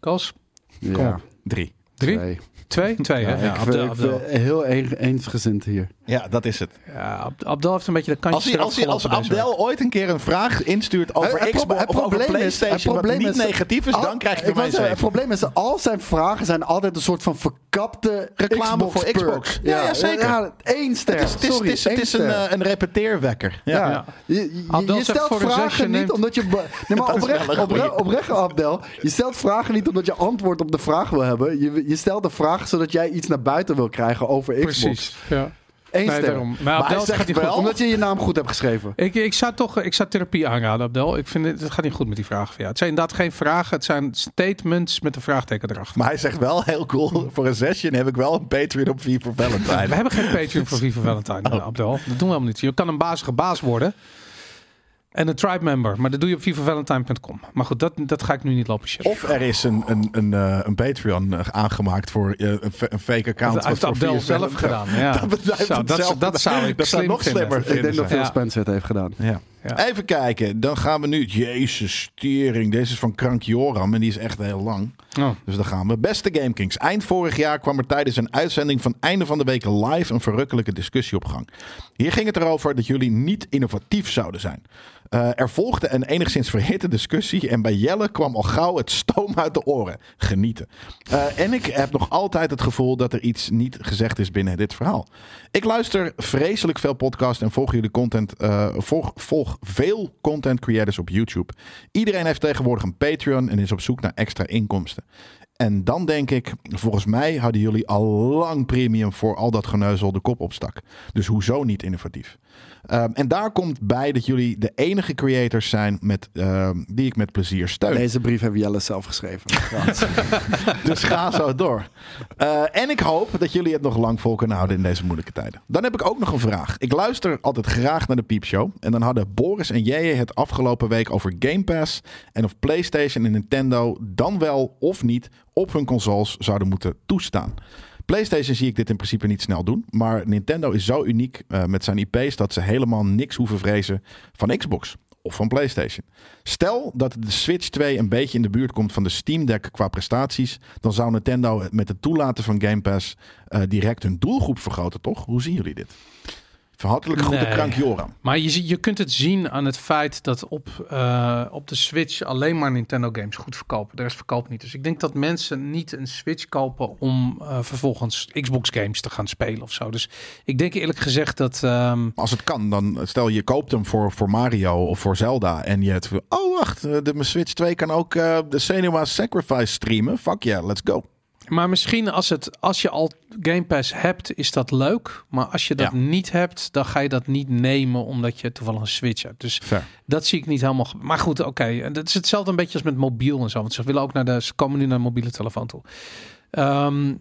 Koos?
Ja,
3.
Drie?
twee.
Twee? Twee,
Ja,
hè?
ik vind- ik vind heel een- eensgezind hier.
Ja, dat is het.
Ja, Ab- Abdel heeft een beetje de
Als,
kantjes
hij, als, hij, als
eraf gelopen
Abdel ooit een keer een vraag instuurt over
Het- het
Xbox
proble- het
of over
probleem is- het
PlayStation, wat
probleem
niet
is-
negatief is,
Al-
dan krijg je
Ik
van
wou
mij
zeggen,
zeven.
Het probleem is, al zijn vragen zijn altijd een soort van verkapte
Reclame
Xbox
voor
perk.
Xbox. Ja, ja, zeker.
Ja, één ster.
Het is, het is,
Sorry,
het is, het
één
is een,
ster.
eh, een repeteerwekker. Ja.
Ja.
Ja.
Je- Je, je-
Abdel
je
zegt
stelt
voor een zesje
vragen niet
neemt-
omdat je... be- Nee, maar
Dat is wel
oprecht,
een goeie.
opre- oprecht, Abdel. Je stelt vragen niet omdat je antwoord op de vraag wil hebben. Je, je stelt de vraag zodat jij iets naar buiten wil krijgen over Xbox.
Precies, ja.
Eén
Nee,
ster.
daarom. Maar
Maar
Abdel,
hij
het gaat
zegt
niet
wel,
goed.
omdat je je naam goed hebt geschreven.
Ik, ik zou toch ik zou therapie aanraden, Abdel. Ik vind het, het gaat niet goed met die vragen van jou. Het zijn inderdaad geen vragen. Het zijn statements met een vraagteken erachter.
Maar hij zegt wel heel cool, voor een session heb ik wel een Patreon op 4 voor
We
Valentine.
hebben geen Patreon voor Viva Valentine, eh, Abdel. Dat doen we helemaal niet. Je kan een bazige baas worden. En een tribe member. Maar dat doe je op vivavalentine.com. Maar goed, dat, dat ga ik nu niet lopen shit.
Of er is een, een, een, eh, een Patreon eh, aangemaakt voor eh, een, fa- een fake account.
dat heeft
voor
Abdel
4
zelf
Valentine.
gedaan. Ja.
Dat bedrijf
Zo,
het
dat,
zelf.
dat zou ik
Dat zou
slim
nog
vinden.
slimmer
Ik denk dat
vinden.
Phil
Ja.
Spencer het heeft gedaan.
Ja.
Ja.
Even kijken, dan gaan we nu... Jezus, stering. Deze is van Krank Joram en die is echt heel lang.
Oh.
Dus daar gaan we. Beste GameKings, eind vorig jaar kwam er tijdens een uitzending van einde van de week live een verrukkelijke discussie op gang. Hier ging het erover dat jullie niet innovatief zouden zijn. Eh, er volgde een enigszins verhitte discussie en bij Jelle kwam al gauw het stoom uit de oren. Genieten. Eh, en ik heb nog altijd het gevoel dat er iets niet gezegd is binnen dit verhaal. Ik luister vreselijk veel podcasts en volg jullie content. eh, volg, volg veel content creators op YouTube. Iedereen heeft tegenwoordig een Patreon en is op zoek naar extra inkomsten. En dan denk ik, volgens mij hadden jullie al lang premium voor al dat geneuzel de kop opstak. Dus hoezo niet innovatief? Ehm, en daar komt bij dat jullie de enige creators zijn met, ehm, die ik met plezier steun.
Deze brief hebben Jelle zelf geschreven. Trouwens.
Dus ga zo door. Eh, en ik hoop dat jullie het nog lang vol kunnen houden in deze moeilijke tijden. Dan heb ik ook nog een vraag. Ik luister altijd graag naar de Piepshow. En dan hadden Boris en Jeje het afgelopen week over Game Pass. En of PlayStation en Nintendo dan wel of niet op hun consoles zouden moeten toestaan. PlayStation zie ik dit in principe niet snel doen. Maar Nintendo is zo uniek eh, met zijn IP's dat ze helemaal niks hoeven vrezen van Xbox of van PlayStation. Stel dat de Switch 2 een beetje in de buurt komt van de Steam Deck qua prestaties, dan zou Nintendo met het toelaten van Game Pass eh, direct hun doelgroep vergroten, toch? Hoe zien jullie dit? Verhoudelijk groeten
Nee.
Krank Joram.
Maar je, zie- je kunt het zien aan het feit dat op, eh, op de Switch alleen maar Nintendo games goed verkopen. De rest verkoopt niet. Dus ik denk dat mensen niet een Switch kopen om eh, vervolgens Xbox games te gaan spelen of zo. Dus ik denk eerlijk gezegd dat... ehm,
Als het kan, dan stel je koopt hem voor, voor Mario of voor Zelda en je het oh wacht, eh, de mijn Switch 2 kan ook eh, de Senua Sacrifice streamen. Fuck yeah, let's go.
maar misschien als, het, als je al Game Pass hebt, is dat leuk. Maar als je dat
Ja.
niet hebt, dan ga je dat niet nemen omdat je toevallig een Switch hebt. Dus
Ver.
Dat zie ik niet helemaal. ge- Maar goed, oké. En Dat is hetzelfde een beetje als met mobiel en zo. Want ze willen ook naar de. Ze komen nu naar de mobiele telefoon toe. Ehm,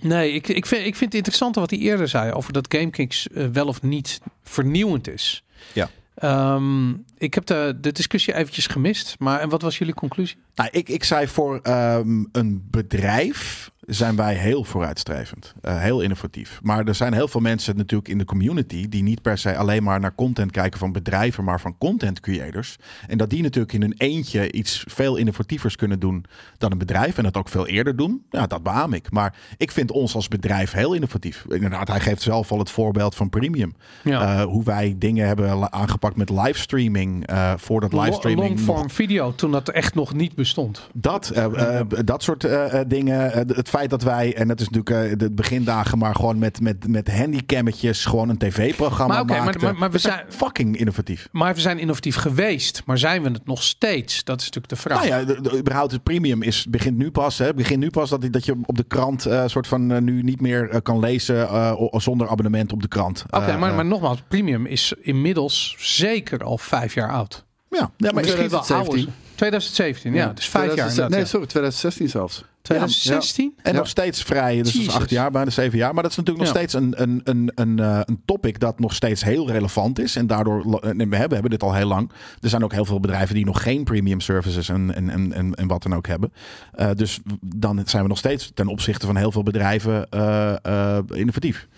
nee, ik, ik, vind, ik vind het interessante wat hij eerder zei over dat GameKings eh, wel of niet vernieuwend is.
Ja.
Ehm, ik heb de, de discussie eventjes gemist. Maar en wat was jullie conclusie?
Nou, ik, ik zei voor ehm, een bedrijf zijn wij heel vooruitstrevend, eh, heel innovatief. Maar er zijn heel veel mensen natuurlijk in de community die niet per se alleen maar naar content kijken van bedrijven, maar van content creators. En dat die natuurlijk in hun eentje iets veel innovatievers kunnen doen dan een bedrijf en dat ook veel eerder doen. Ja, dat beaam ik. Maar ik vind ons als bedrijf heel innovatief. Inderdaad, hij geeft zelf al het voorbeeld van premium.
Ja.
Eh, hoe wij dingen hebben la- aangepakt met livestreaming. eh voordat livestreaming nog-
Longform video, toen dat echt nog niet bestond.
dat, eh, eh, dat soort eh, eh, dingen. Eh, het feit dat wij, en dat is natuurlijk eh, de begindagen, maar gewoon met, met, met handicammetjes gewoon een tv-programma
Maar oké, maar-
maakten.
maar- maar we zijn-
fucking innovatief.
Maar we zijn innovatief geweest. Maar zijn we het nog steeds? Dat is natuurlijk de vraag.
Nou ja, de, de- überhaupt het premium is, begint nu pas. Hè, begint nu pas dat, dat je op de krant eh, soort van eh, nu niet meer eh, kan lezen eh, o- zonder abonnement op de krant.
Oké,
Eh,
maar,
eh,
maar nogmaals, premium is inmiddels zeker al vijf jaar oud.
ja, ja, maar
Misschien- 2017.
ouder. 2017, ja. Dus vijf jaar
2016
inderdaad.
Nee,
ja.
sorry, 2016 zelfs.
2016?
En
Ja.
nog steeds vrij, dus dat is
Jezus.
acht jaar, bijna zeven jaar. Maar dat is natuurlijk nog
Ja.
steeds een, een, een, een, eh, een topic dat nog steeds heel relevant is. En daardoor, lo- en we hebben, we hebben dit al heel lang. Er zijn ook heel veel bedrijven die nog geen premium services en, en, en, en, en wat dan ook hebben. Eh, dus dan zijn we nog steeds ten opzichte van heel veel bedrijven eh, eh, innovatief.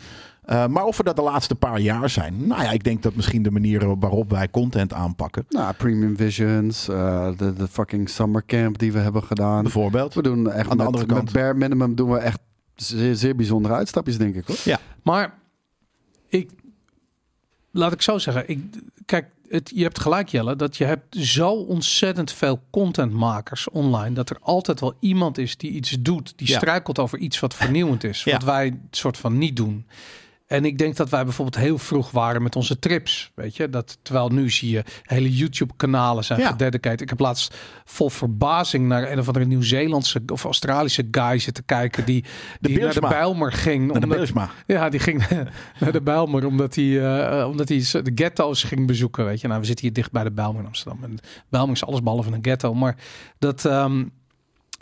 Eh, maar of we dat de laatste paar jaar zijn. Nou ja, ik denk dat misschien de manieren waarop wij content aanpakken.
Nou, Premium Visions, eh, de, de fucking summer camp die we hebben gedaan.
Bijvoorbeeld.
We doen echt
Aan de
met,
andere
met
kant.
bare minimum doen we echt zeer, zeer bijzondere uitstapjes, denk ik hoor.
Maar ik, laat ik zo zeggen, ik, kijk, het, je hebt gelijk Jelle, dat je hebt zo ontzettend veel contentmakers online, dat er altijd wel iemand is die iets doet, die
Ja.
struikelt over iets wat vernieuwend is,
Ja.
wat wij soort van niet doen. En ik denk dat wij bijvoorbeeld heel vroeg waren met onze trips, weet je, dat terwijl nu zie je hele YouTube-kanalen zijn
Ja.
gededicateerd. Ik heb laatst vol verbazing naar een of andere Nieuw-Zeelandse of Australische guy zitten kijken die, die naar de
Beelsma.
Bijlmer ging,
Naar de
omdat-
Beelsma.
ja, die ging naar de Bijlmer omdat hij, eh, eh, omdat hij z- de ghetto's ging bezoeken. Weet je, nou, we zitten hier dicht bij de Bijlmer in Amsterdam. En Bijlmer is alles behalve een ghetto. Maar dat, ehm,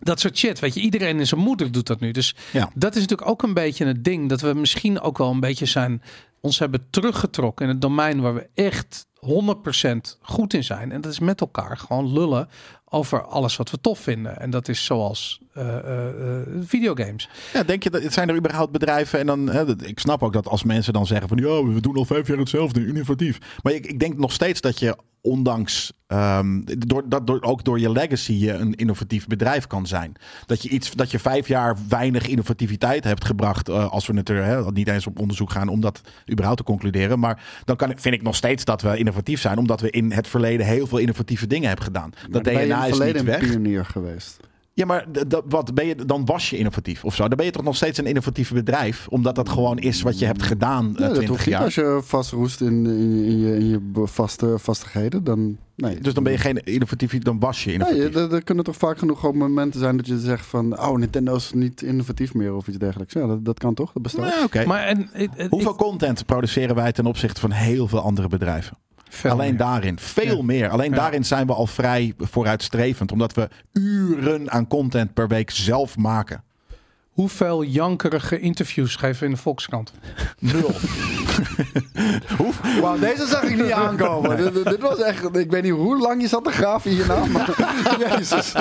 dat soort shit, weet je, iedereen en zijn moeder doet dat nu. Dus
Ja.
dat is natuurlijk ook een beetje het ding dat we misschien ook wel een beetje zijn, ons hebben teruggetrokken in het domein waar we echt 100% goed in zijn. En dat is met elkaar gewoon lullen over alles wat we tof vinden. En dat is zoals eh, eh, eh, videogames.
Ja, denk je dat zijn er überhaupt bedrijven en dan hè, dat- ik snap ook dat als mensen dan zeggen van ja, we doen al vijf jaar hetzelfde, innovatief. Maar ik, ik denk nog steeds dat je ondanks ehm, door, dat door, ook door je legacy je een innovatief bedrijf kan zijn. Dat je iets dat je vijf jaar weinig innovativiteit hebt gebracht eh, als we het er hè, niet eens op onderzoek gaan om dat überhaupt te concluderen. Maar dan kan, ik- vind ik nog steeds dat we innovatief zijn omdat we in het verleden heel veel innovatieve dingen hebben gedaan.
Maar
Dat
dan ben je in
DNA
het
is
verleden
niet
een
weg. Eh,
pionier geweest.
Ja, maar d- dat- wat ben je, dan was je innovatief of zo. Dan ben je toch nog steeds een innovatief bedrijf. Omdat dat gewoon is wat je hebt gedaan eh,
Nee, dat
20
hoeft niet
jaar.
als je vastroest in, in, in je, in je be- vaste vastigheden. Dan, nee.
Dus dan ben je geen innovatief, dan was je innovatief.
Nee, er, er kunnen toch vaak genoeg gewoon momenten zijn dat je zegt van... oh, Nintendo is niet innovatief meer of iets dergelijks. Ja, dat, dat kan toch? Dat bestaat.
Nou, ja, oké.
Maar en, eh, het- het-
Hoeveel content produceren wij ten opzichte van heel veel andere bedrijven?
Veel
Alleen
meer.
daarin. Veel
Ja.
meer. Alleen
Ja.
daarin zijn we al vrij vooruitstrevend. Omdat we uren aan content per week zelf maken.
Hoeveel jankerige interviews geven we in de Volkskrant?
Nul.
Wauw, deze zag ik niet aankomen. Dit- Dit, dit was echt... Ik weet niet hoe lang je zat te graven hierna, maar... Jezus.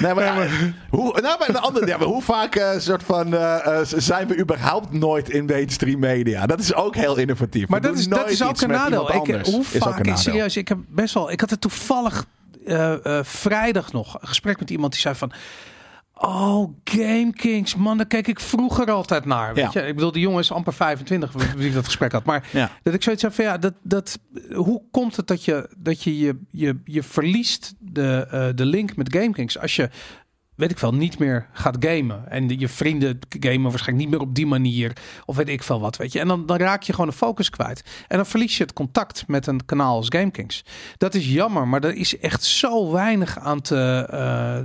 Nee, maar, hoe, nou, maar, een ander, ja, maar hoe vaak eh, soort van, eh, eh, zijn we überhaupt nooit in mainstream media? Dat is ook heel innovatief. We
Maar dat
doen
is, dat
nooit
is ook
iets
een
met
nadeel.
iemand
Ik, eh,
anders.
hoe
Is ook
vaak,
een
ik,
nadeel.
serieus, ik heb best wel. Ik had het toevallig eh, eh, vrijdag nog een gesprek met iemand die zei van. Oh, Game Kings, man, daar keek ik vroeger altijd naar. Weet
Ja.
je? Ik bedoel, die jongen is amper 25, met wie ik dat gesprek had. Maar
Ja.
dat ik zoiets heb van, ja, dat, dat, hoe komt het dat je dat je, je, je, je verliest de, eh, de link met GameKings als je, weet ik wel, niet meer gaat gamen. En je vrienden gamen waarschijnlijk niet meer op die manier. Of weet ik veel wat, weet je. En dan, dan raak je gewoon de focus kwijt. En dan verlies je het contact met een kanaal als GameKings. Dat is jammer, maar er is echt zo weinig aan te, eh, eh,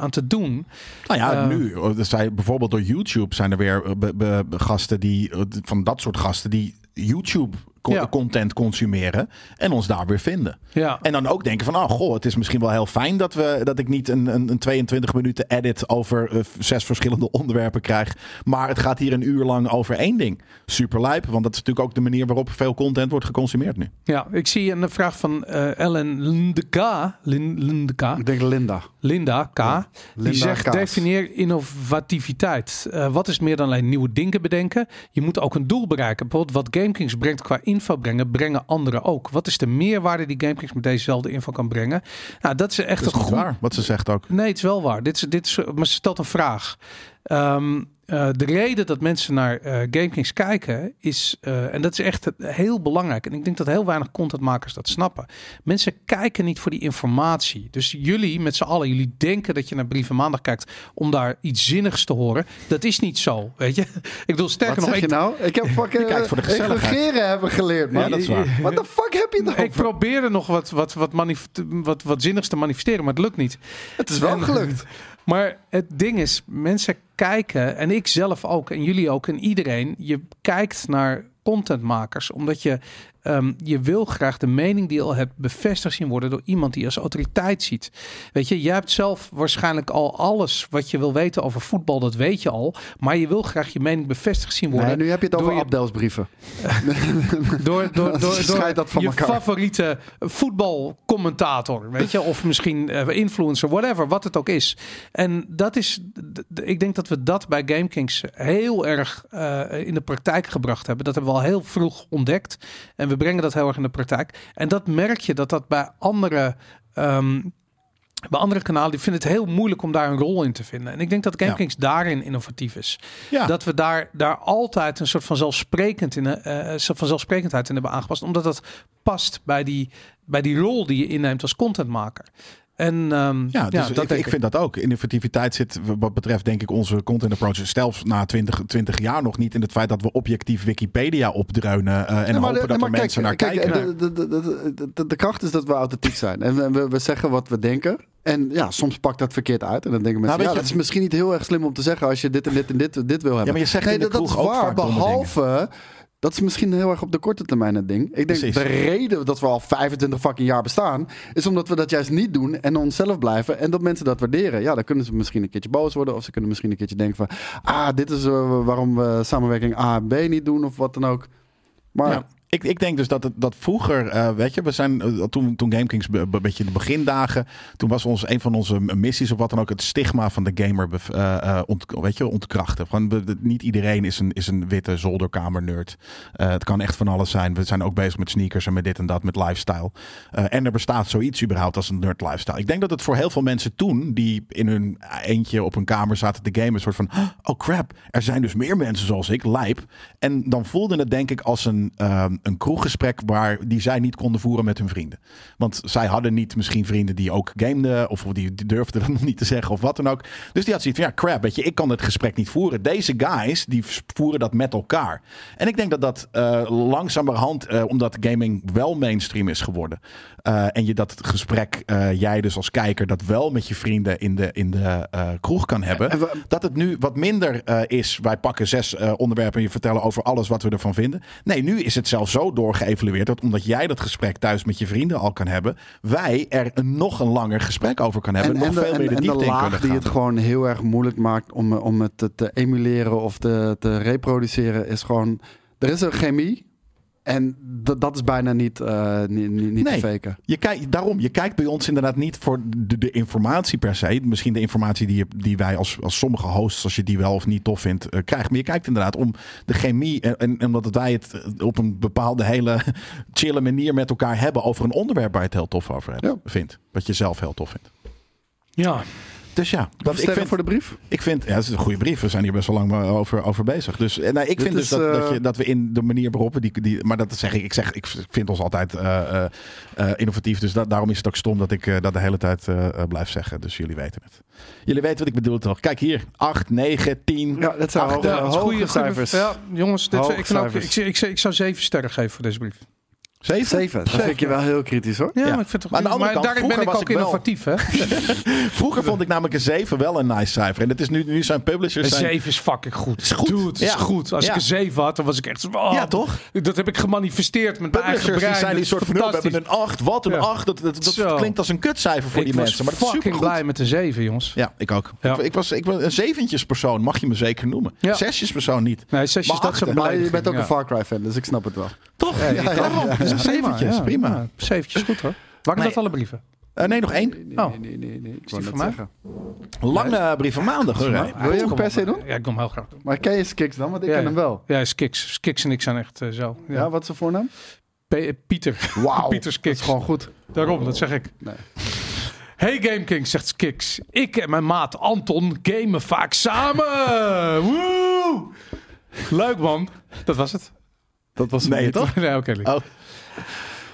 aan te doen.
Nou ja,
Eh,
nu. oh, er zijn bijvoorbeeld door YouTube zijn er weer eh, be- be- be- gasten die. eh, d- Van dat soort gasten die YouTube co-
Ja.
content consumeren en ons daar weer vinden.
Ja.
En dan ook denken van, oh goh, het is misschien wel heel fijn dat, we, dat ik niet een, een, een 22 minuten edit over eh, v- zes verschillende onderwerpen krijg. Maar het gaat hier een uur lang over één ding. Super lijp, want dat is natuurlijk ook de manier waarop veel content wordt geconsumeerd nu.
Ja, ik zie een vraag van eh, Ellen Lindeka. Lin, Lindeka.
Ik denk Linda.
Linda K. die
Linda
zegt:
Kaas.
definieer innovativiteit. Eh, wat is meer dan alleen nieuwe dingen bedenken? Je moet ook een doel bereiken. Bijvoorbeeld wat GameKings brengt qua info brengen, brengen anderen ook. Wat is de meerwaarde die GameKings met dezezelfde info kan brengen? Nou, dat is echt
Dat is
een
niet
goed
waar, wat ze zegt ook.
Nee, het is wel waar. Dit is, dit is, maar ze stelt een vraag. Ehm, eh, de reden dat mensen naar eh GameKings kijken is, eh, en dat is echt heel belangrijk, en ik denk dat heel weinig contentmakers dat snappen. Mensen kijken niet voor die informatie. Dus jullie met z'n allen, jullie denken dat je naar Brieven Maandag kijkt om daar iets zinnigs te horen. Dat is niet zo, weet je. Ik bedoel, sterker
Wat
nog,
zeg je
ik,
nou? Ik heb fucking
Je kijkt voor de
eh,
gezelligheid.
reageren hebben geleerd, man.
Ja, dat is waar.
What the fuck heb je nou?
ik probeerde nog wat, wat, wat, manif- wat, wat zinnigs te manifesteren, maar het lukt niet.
Het is wel
En-
gelukt.
Maar het ding is, mensen kijken, en ik zelf ook, en jullie ook, en iedereen, je kijkt naar contentmakers, omdat je, ehm, je wil graag de mening die je al hebt bevestigd zien worden door iemand die je als autoriteit ziet. Weet je, jij hebt zelf waarschijnlijk al alles wat je wil weten over voetbal, dat weet je al, maar je wil graag je mening bevestigd zien worden
Nee, nu heb je het
Doe
over
je-
Abdelsbrieven.
door, door, door, door
Scheid dat van
je
elkaar.
favoriete voetbalcommentator, weet je, of misschien eh, influencer, whatever, wat het ook is. En dat is, d- d- ik denk dat we dat bij GameKings heel erg eh, in de praktijk gebracht hebben. Dat hebben we al heel vroeg ontdekt en we brengen dat heel erg in de praktijk. En dat merk je dat dat bij andere. ehm, bij andere kanalen die vinden het heel moeilijk om daar een rol in te vinden. En ik denk dat GameKings daarin innovatief is.
Ja.
Dat we daar, daar altijd een soort van, zelfsprekend in, eh, eh, soort van zelfsprekendheid in hebben aangepast. Omdat dat past bij die, bij die rol die je inneemt als contentmaker. En ehm,
Ja, dus
dat
ik,
denk
ik vind dat ook. Innovativiteit zit wat betreft denk ik onze content approach zelfs na 20, 20 jaar nog niet in het feit dat we objectief Wikipedia opdreunen eh, en
Nee, maar
hopen
de-
dat
maar
er
kijk,
mensen naar
kijk,
kijken.
De, de, de, de- de, de kracht is dat we authentiek zijn. En we, we, we zeggen wat we denken. En ja, soms pakt dat verkeerd uit. En dan denken mensen,
Nou, weet
ja,
je-
dat is misschien niet heel erg slim om te zeggen... als je dit en dit en dit, dit wil hebben.
maar je zegt
nee,
in de
dat, dat is
kroeg ook
waar,
vaak domme
behalve... Dat is misschien heel erg op de korte termijn het ding. Ik denk
Precies.
de reden dat we al 25 fucking jaar bestaan... is omdat we dat juist niet doen en onszelf blijven... en dat mensen dat waarderen. Ja, dan kunnen ze misschien een keertje boos worden... of ze kunnen misschien een keertje denken van... ah, dit is eh, waarom we samenwerking A en B niet doen of wat dan ook. Maar
Ja. Ik, ik denk dus dat, het, dat vroeger, eh, weet je, we zijn eh, toen, toen GameKings be- be- een beetje in de begindagen, toen was ons een van onze missies of wat dan ook het stigma van de gamer bev- eh, eh, ont, weet je, ontkrachten. Gewoon, we- we- niet iedereen is een, is een witte zolderkamer nerd. Eh, het kan echt van alles zijn. We zijn ook bezig met sneakers en met dit en dat, met lifestyle. Eh, en er bestaat zoiets überhaupt als een nerd lifestyle. Ik denk dat het voor heel veel mensen toen, die in hun eentje op hun kamer zaten te gamen, een soort van, oh crap, er zijn dus meer mensen zoals ik, lijp. En dan voelde het denk ik als een, ehm, een kroeggesprek waar die zij niet konden voeren met hun vrienden. Want zij hadden niet misschien vrienden die ook gameden of die die durfden dat nog niet te zeggen of wat dan ook. Dus die had zoiets van, ja crap, weet je, ik kan het gesprek niet voeren. Deze guys, die voeren dat met elkaar. En ik denk dat dat eh, langzamerhand, eh, omdat gaming wel mainstream is geworden. eh, en je dat gesprek, eh, jij dus als kijker, dat wel met je vrienden in de, in de eh, kroeg kan hebben
En we-
dat het nu wat minder eh, is. Wij pakken zes eh, onderwerpen en je vertellen over alles wat we ervan vinden. Nee, nu is het zelfs zo doorgeëvalueerd dat omdat jij dat gesprek thuis met je vrienden al kan hebben, wij er een nog een langer gesprek over kan hebben. En, nog veel meer de
en
diepte in
laag
kunnen
die
gaan.
het gewoon heel erg moeilijk maakt om, eh, om het te, te emuleren of te, te reproduceren, is gewoon. Er is een chemie. En dat- dat is bijna niet, eh, niet, niet, niet
Nee.
te faken.
Je kijkt, daarom, je kijkt bij ons inderdaad niet voor de, de informatie per se. Misschien de informatie die, je, die wij als, als sommige hosts, als je die wel of niet tof vindt, eh, krijgt. Maar je kijkt inderdaad om de chemie. En, en, en omdat wij het eh, op een bepaalde hele chille manier met elkaar hebben over een onderwerp waar je het heel tof over hebt,
Ja.
vindt. Wat je zelf heel tof vindt.
Ja,
Dus ja,
Dat
ik vind,
voor de brief.
ik vind, ja, dat is een goede brief. We zijn hier best wel lang maar over, over bezig. Dus eh, nou, ik
Dit
vind dus
is,
dat, dat,
eh,
je, dat we in de manier waarop we die, die. Maar dat zeg ik. Ik, zeg, ik vind ons altijd eh, eh, eh, innovatief. Dus da- daarom is het ook stom dat ik eh, dat de hele tijd eh, eh, blijf zeggen. Dus jullie weten het. Jullie weten wat ik bedoel toch? Kijk hier. 8, 9, 10.
Ja, dat zijn
Ach,
hoge,
Ja, het is
hoge
goede- goede-
cijfers.
Ja, jongens, dit,
Hoge
ik, vind ook, ik,
cijfers.
ik, ik zou zeven sterren geven voor deze brief.
Zeven?
Zeven. Dat vind ik je wel heel kritisch hoor.
Ja,
Ja.
maar ik vind het
Maar aan de
toch
andere
maar
kant,
daarin ben ik
vroeger was
ook
ik wel-
innovatief, hè?
Vroeger vond ik namelijk een 7 wel een nice cijfer. En dat is nu, nu zijn publishers...
Een
zijn...
7 is fucking goed.
Is goed.
Dude, is
Ja.
goed. Als
Ja.
ik een 7 had, dan was ik echt zo... oh,
Ja, toch?
Dat heb ik gemanifesteerd met mijn eigen
Publishers
brein.
die zijn die
Dat
soort
is
van... "Nul, We
fantastisch.
hebben een 8, wat een
Ja.
8. Dat, dat, dat
Zo.
klinkt als een kutcijfer voor
ik
die
was
mensen. Maar dat is
fucking
supergoed.
blij met een 7, jongens.
Ja, ik ook.
Ja.
Ik, ik was, ik was een zeventjespersoon, mag je me zeker noemen.
Ja.
Zesjespersoon niet.
Nee, 6 is
Maar
dat
achter,
zo'n
Maar je
belediging,
bent ook
ja.
een Far Cry fan, dus ik snap het wel.
Toch? Ja, daarom. Dus een zeventjes,
ja,
prima.
ja, Zeventjes, goed hoor. Waar
Nee.
dat alle brieven?
Eh, nee, nog één.
Oh.
Nee, nee, nee. nee. Ik
die
wou
voor
net
mij?
zeggen.
Lange brief van maandag. hoor, hè?
Wil je hem per se doen?
Ja, ik wil hem heel graag doen.
Maar ken je Skiks dan? Want ik
Ja,
ken
ja.
hem wel.
Ja, Skiks. Skiks en ik zijn echt eh, zo. Ja.
Ja, wat is zijn voornaam?
P- Pieter.
Wauw.
Pieter
Dat is
Skiks.
gewoon goed.
Daarom, dat zeg ik.
Nee.
Hey GameKings, zegt Skiks. Ik en mijn maat Anton gamen vaak samen. Woe! Leuk man. Dat was het.
Dat was
Nee,
niet.
toch?
Nee, oké. lief.
Oh.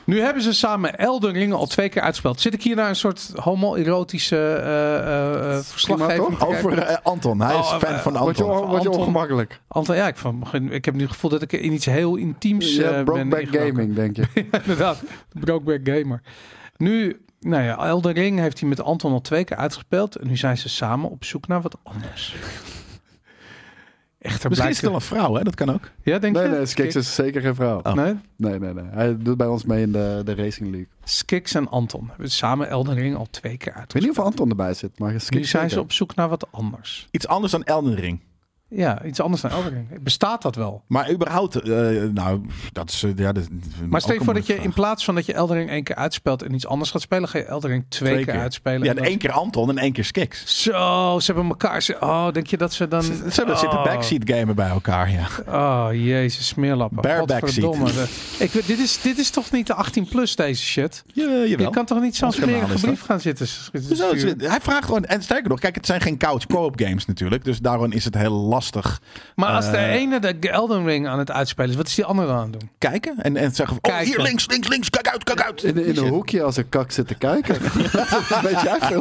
Nu hebben ze samen Elden Ring al twee keer uitgespeeld. Zit ik hier naar een soort homoerotische eh, eh, eh,
toch?
verslaggeving? te kijken?
Over eh, Anton. Hij is
Oh,
fan
eh,
van
Word je,
Anton.
on- word je
Anton.
ongemakkelijk?
Anton, ja, ik, van, ik heb nu het gevoel dat ik in iets heel intiems
Ja,
eh, ben
Brokeback
ingedoken.
Gaming, denk je.
Inderdaad, de Brokeback Gamer. Nu, nou ja, Elden Ring heeft hij met Anton al twee keer uitgespeeld. En nu zijn ze samen op zoek naar wat anders. Echter blijkt...
Misschien is het wel een vrouw, hè? Dat kan ook.
Ja, denk
Nee,
je?
nee, Skiks is zeker geen vrouw.
Nee?
Nee, nee, nee. Hij doet bij ons mee in de, de Racing League.
Skix en Anton hebben samen Elden Ring al twee keer
Ik weet
uitgespeeld.
niet of Anton erbij zit, maar Skiks
Nu zijn ze
zeker.
op zoek naar wat anders.
Iets anders dan Elden Ring.
Ja, iets anders dan Elden Ring. Bestaat dat wel?
Maar überhaupt, eh, nou, dat is... eh, ja, dat,
Maar stel je voor dat je in plaats van dat je Elden Ring één keer uitspeelt en iets anders gaat spelen, ga je Elden Ring twee,
Twee
keer,
keer.
uitspelen.
Ja,
en dan-
één keer Anton en één keer Skiks.
Zo, ze hebben elkaar. Ze, oh, denk je dat ze dan.
Ze, ze
oh,
zitten backseat gamen bij elkaar, ja.
Oh, jezus, smeerlappen.
Bare
Godverdomme. Ik, weet- dit, is, dit is toch niet de 18 plus deze shit?
Je,
Je kan toch niet zo'n
Ons kanaal
smerige
is dat.
brief gaan zitten s-
Zo,
sturen?
het is- hij vraagt gewoon, en sterker nog, kijk, het zijn geen couch co-op games natuurlijk, dus daarom is het heel lastig
Maar als de
Eh.
ene de Elden Ring aan het uitspelen is, wat is die andere dan aan het doen?
kijken en, en zeggen, van, oh,
Kijken.
hier links, links, links, kijk uit, kijk uit.
In, in
Die
een
shit.
hoekje als een kak zit te kijken. Weet jij veel?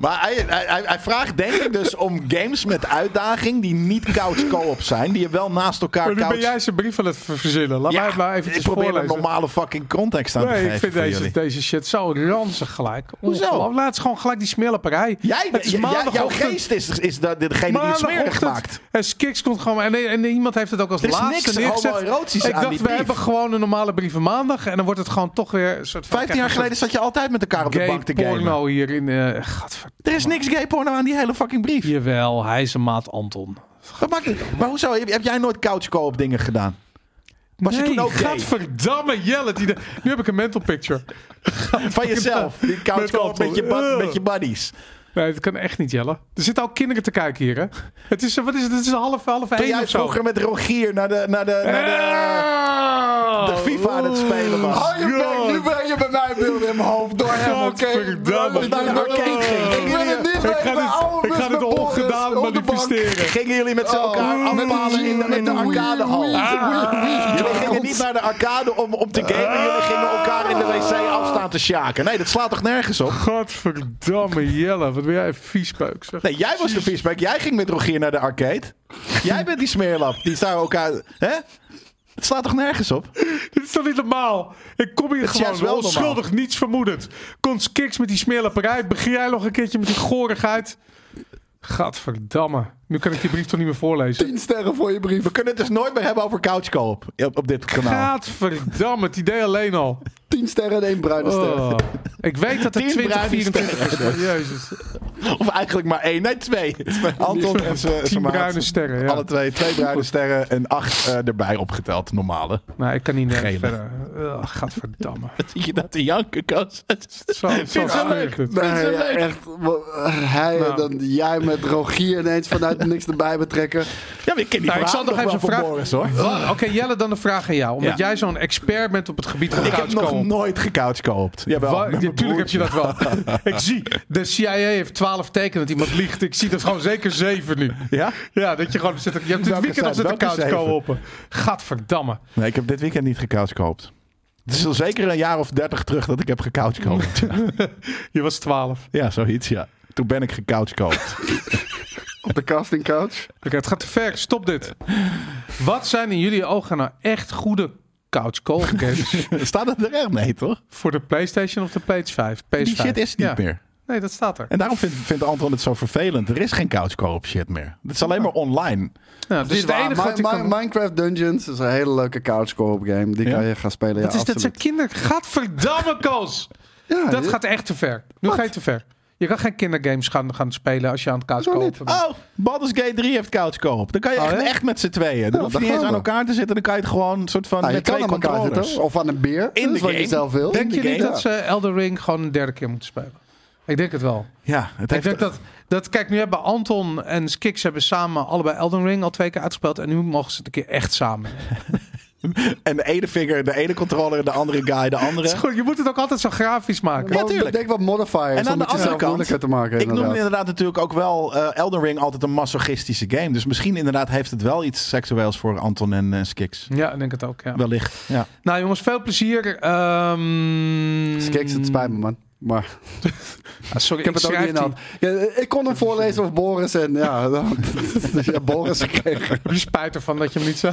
Maar hij, hij, hij- hij vraagt denk ik dus om games met uitdaging die niet couch co-op zijn, die je wel naast elkaar couch...
zijn brief aan het verzinnen. Laat
Ja, ik probeer een normale fucking context aan te
Nee,
geven
ik vind
voor
deze,
jullie.
deze shit zo ranzig gelijk.
Hoezo?
Ongelooflijk. Laat eens gewoon gelijk die smeerlapperij.
Jij,
Het is
jij- jouw
maandagochtend.
geest is, is de- degene die het smerig
Maandagochtend.
maakt.
En Skiks komt gewoon. En, en iemand heeft het ook als
Er is
laatste
niks
neergezet.
homoerotisch
Ik
aan
dacht,
die
we
brief.
hebben gewoon een normale brieven maandag. En dan wordt het gewoon toch weer een soort. van-
15 jaar geleden zat je altijd met elkaar op de
Gay
bank te gamen.
porno hier in. eh gadver-
Er is niks gay porno aan die hele fucking brief.
Jawel, hij is een maat Anton.
Wat maakt het? Maar hoezo? Heb, heb jij nooit couch co-op dingen gedaan? Was je
nee,
toen ook gay?
gadverdamme Jelle. Die de- nu heb ik een mental picture.
Van jezelf? Die couch
Met
co-op met je, bud-
Anton.
met je buddies.
Nee, dat kan echt niet, Jelle. Er zitten ook kinderen te kijken hier, hè? Het is, eh, wat is het? Het is half, half
Toen
één
jij
of zo.
vroeger met Rogier naar de, naar de, naar de,
Ah!
de FIFA aan het spelen was.
Hou je bek, nu breng je bij mij beelden in mijn hoofd door hem, oké?
Godverdamme.
Ik ben er
Oké,
niet
ik-
Ik ben het niet
Ik ga
bij mijn oude
dit,
bus
ik ga dit
met Boris
ongedaan
op de bank.
manifesteren.
Gingen jullie met z'n elkaar
Oh, met
afpalen in de, in de
Wii,
arcadehal?
Wii, Wii, Wii.
Jullie gingen niet naar de arcade om, om te gamen. Jullie gingen elkaar in de wc afstaan te sjaken. Nee, dat slaat toch nergens op?
Godverdamme Jelle, wat ben jij een viespeuk zeg.
Nee, jij was de viesbek. Jij ging met Rogier naar de arcade. Jij bent die smeerlap. Die staan elkaar... Hè? Het slaat toch nergens op?
Dit is toch niet normaal? Ik kom hier
is juist
gewoon
wel
onschuldig, niets vermoedend. Komt kiks met die smeerlapperij, begin jij nog een keertje met die gorigheid. Godverdamme. Nu kan ik die brief toch niet meer voorlezen.
Tien sterren voor je brief.
We kunnen het dus nooit meer hebben over couch co-op op, op dit kanaal.
Godverdamme, het idee alleen al.
Tien sterren en één bruine ster.
Oh. Ik weet dat het
Tien bruine
2024 is. maar Jezus.
Of eigenlijk maar één, nee twee. Anton en
Tien
zijn
bruine
maat.
sterren. Ja.
Alle twee, twee bruine sterren en acht eh, erbij opgeteld, normale.
Nou, ik kan niet nergens
Gele.
verder. Eh, gadverdamme.
Zie je dat in janken, Koos?
Zo, zo
het wel
smerig dit.
Vind
Nee,
je het leuk?
echt. wa- Hij,
Nou.
dan, jij met Rogier ineens vanuit niks erbij betrekken.
Ja, maar ik ken die
Nou, ik
verhalen
zal nog even
wel van
vragen-
Boris, hoor.
Wat? Oh, Oké, Jelle, dan een vraag aan jou. Omdat
Ja.
jij zo'n expert bent op het gebied van
Ik heb nog
couchkoop.
nooit gecouch co-opt. Jawel, met mijn
Natuurlijk heb je dat wel. ik zie, de CIA heeft 12 tekenen dat iemand liegt. Ik zie dat gewoon zeker 7 nu.
broer. Ja?
Ja, dat je gewoon zit. Je hebt dit
Welke
weekend al
zijn-
zitten
welke
couch open. Gadverdamme.
Nee, ik heb dit weekend niet gecouch co-opt. Het is al zeker een jaar of dertig terug dat ik heb gecouch co-opt.
Je was 12.
ja, zoiets, ja. Toen ben ik gecouch co-opt.
Op de casting couch.
Oké, het gaat te ver. Stop dit. Wat zijn in jullie ogen nou echt goede couch co-op games.
Staat het er echt mee, toch?
voor de PlayStation of de PS5. PS5.
Die shit is niet
Ja.
meer.
Nee, dat staat er.
En daarom vindt, vindt Anton het zo vervelend. Er is geen couch co-op shit meer. Het is alleen maar online.
Nou,
Dus
dus het enige wat je kan...
Minecraft Dungeons is een hele leuke couch co-op game. Die
Ja?
kan je gaan spelen.
Wat
ja,
is dat zijn
absoluut.
kinderen... Gadverdamme, Koos!
Ja,
dat
dit-
gaat echt te ver. Nu ga je te ver. Je kan geen kindergames gaan, gaan spelen als je aan het couch
Hoezo
co-op
niet?
bent.
Oh, Baldur's Gate 3 heeft couch co-op. Dan kan je
Oh,
echt,
ja?
echt met z'n tweeën.
Ja,
Dan hoef je
daar
niet eens
gaan
aan
we.
elkaar te zitten. Dan kan je het gewoon een soort van
Nou, je
met
kan
twee
aan elkaar
controllers.
zitten. Of aan een beer.
In
dat is
de
wat je
game.
zelf wil.
In
Denk je
de
niet
game.
dat ze Elder Ring gewoon een derde keer moeten spelen? Ik denk het wel.
Ja, het
Ik
heeft...
denk dat, dat... Kijk, nu hebben Anton en Skix hebben samen allebei Elden Ring al twee keer uitgespeeld. En nu mogen ze het een keer echt samen.
En de ene vinger, de ene controller, de andere guy, de andere.
Goed, je moet het ook altijd zo grafisch maken.
Ja,
Gewoon
tuurlijk.
Bedenk wat modifiers.
En aan
om
de
het jezelf
andere kant,
moeilijker te maken.
Ik noemde
inderdaad.
inderdaad natuurlijk ook wel eh, Elden Ring altijd een masochistische game. Dus misschien inderdaad heeft het wel iets seksueels voor Anton en eh, Skix.
Ja, ik denk het ook. Ja.
Wellicht, ja.
Nou jongens, veel plezier. Ehm
Skiks, het spijt me man. Maar
Ah, sorry,
ik heb het ook niet in de hand. Ja, eh, ik kon hem voorlezen of Boris en ja, dan- ja Boris kreeg.
Heb je spijt ervan dat je hem niet zo...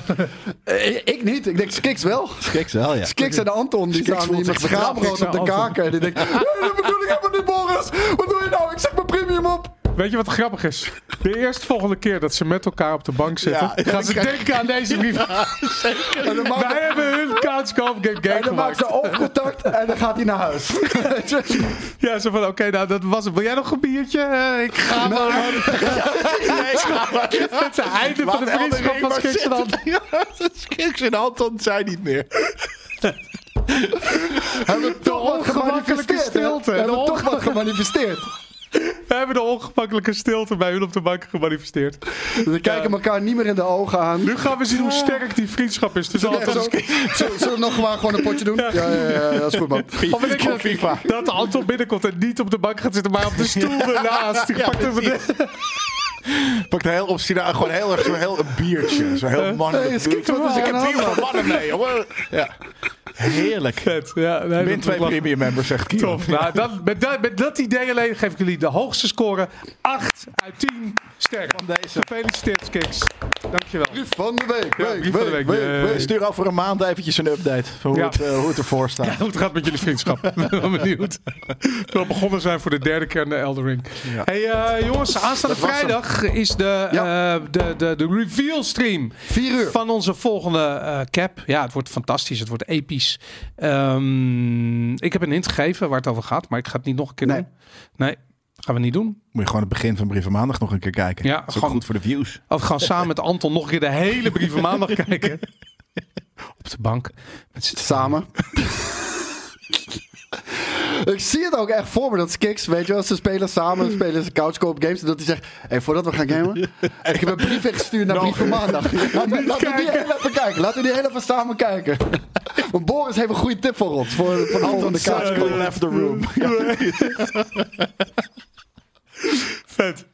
Eh, Ik niet. Ik denk Skiks wel.
Skiks wel, ja.
Skiks en Anton die
Skiks
staan
voelt
hier met
zich betrapt.
schaamrood op de
Skiks en Anton.
kaken. En die denkt, "Ja, dat bedoel ik helemaal niet Boris. Wat doe je nou? Ik zet mijn premium op.
Weet je wat grappig is? De eerste volgende keer dat ze met elkaar op de bank zitten...
Ja,
gaan ze denken aan deze brief.
En dan maakt
Wij hebben hun couch co-op game, game
en dan maakt
gemaakt.
ze oogcontact en dan gaat hij naar huis. Weet je?
Ja, zo van, oké, nou dat was het. Wil jij nog een biertje? Eh, ik ga maar. Het is het einde van de vriendschap van Skiks en Anton.
Skiks en Anton zijn niet meer.
Hebben we toch wat
ongemakkelijke
gemanifesteerd. hè?
stilte.
Hebben we
De
toch wat gemanifesteerd.
We hebben de ongemakkelijke stilte bij hun op de bank gemanifesteerd.
We kijken elkaar niet meer in de ogen aan.
Nu gaan we zien hoe sterk die vriendschap is tussen
Ja,
Anton en
zo,
Skiks.
zo- zullen we nog maar gewoon een potje doen? Ja, ja, ja, ja, dat is goed, man.
Of weet je dat- Dat Anton binnenkomt en niet op de bank gaat zitten, maar op de stoel ernaast. Die pakt hem de...
Pakt heel obstinaat, gewoon heel erg, zo heel een biertje. Zo heel mannelijk.
Hey, Skiks, wat is er
ik
aan de hand?
heb bier van mannen mee, jongen. Ja. Heerlijk.
Vet, Ja, nee,
Min
dat
twee
was
premium members, zegt Kieran.
Tof. Nou, dat, met, dat, met dat idee alleen geef ik jullie de hoogste score. 8 uit 10 sterren.
Van deze.
Gefeliciteerd, Kiks. Dankjewel.
Brief van de week,
Ja,
week,
brief van de
week,
week,
week,
eh.
week.
Stuur over een maand eventjes een update van hoe,
Ja.
het, eh, hoe het ervoor staat.
Hoe het gaat met jullie vriendschap. Ik ben wel benieuwd. We begonnen zijn voor de derde keer aan de Elden Ring. Hey eh, jongens, aanstaande
was hem.
vrijdag is de,
Ja.
eh, de, de, de reveal stream.
4 uur.
Van onze volgende eh, cap. Ja, het wordt fantastisch. Het wordt episch. Ehm, ik heb een hint gegeven waar het over gaat, maar ik ga het niet nog een keer
Nee.
doen. Nee, gaan we niet doen.
Moet je gewoon het begin van Brieven Maandag nog een keer kijken.
Ja,
dat is ook
gewoon-
goed voor de views.
Of we gaan samen met Anton nog een keer de hele brieven maandag kijken. Op de bank. Met z'n
Samen. Ik zie het ook echt voor me, dat Skiks, weet je wel, ze spelen samen, ze spelen ze couchcoop games, en dat hij zegt, hey, voordat we gaan gamen, ik heb een brief gestuurd naar Brief van Maandag. Laten we laten we Nou. die heel even kijken, laten we die heel even samen kijken. Want Boris heeft een goede tip voor ons, voor, voor de volgende couchcoop.
left the room.
Vet.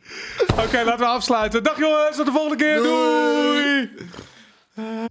Oké, laten we afsluiten. Dag jongens, tot de volgende keer. Doei.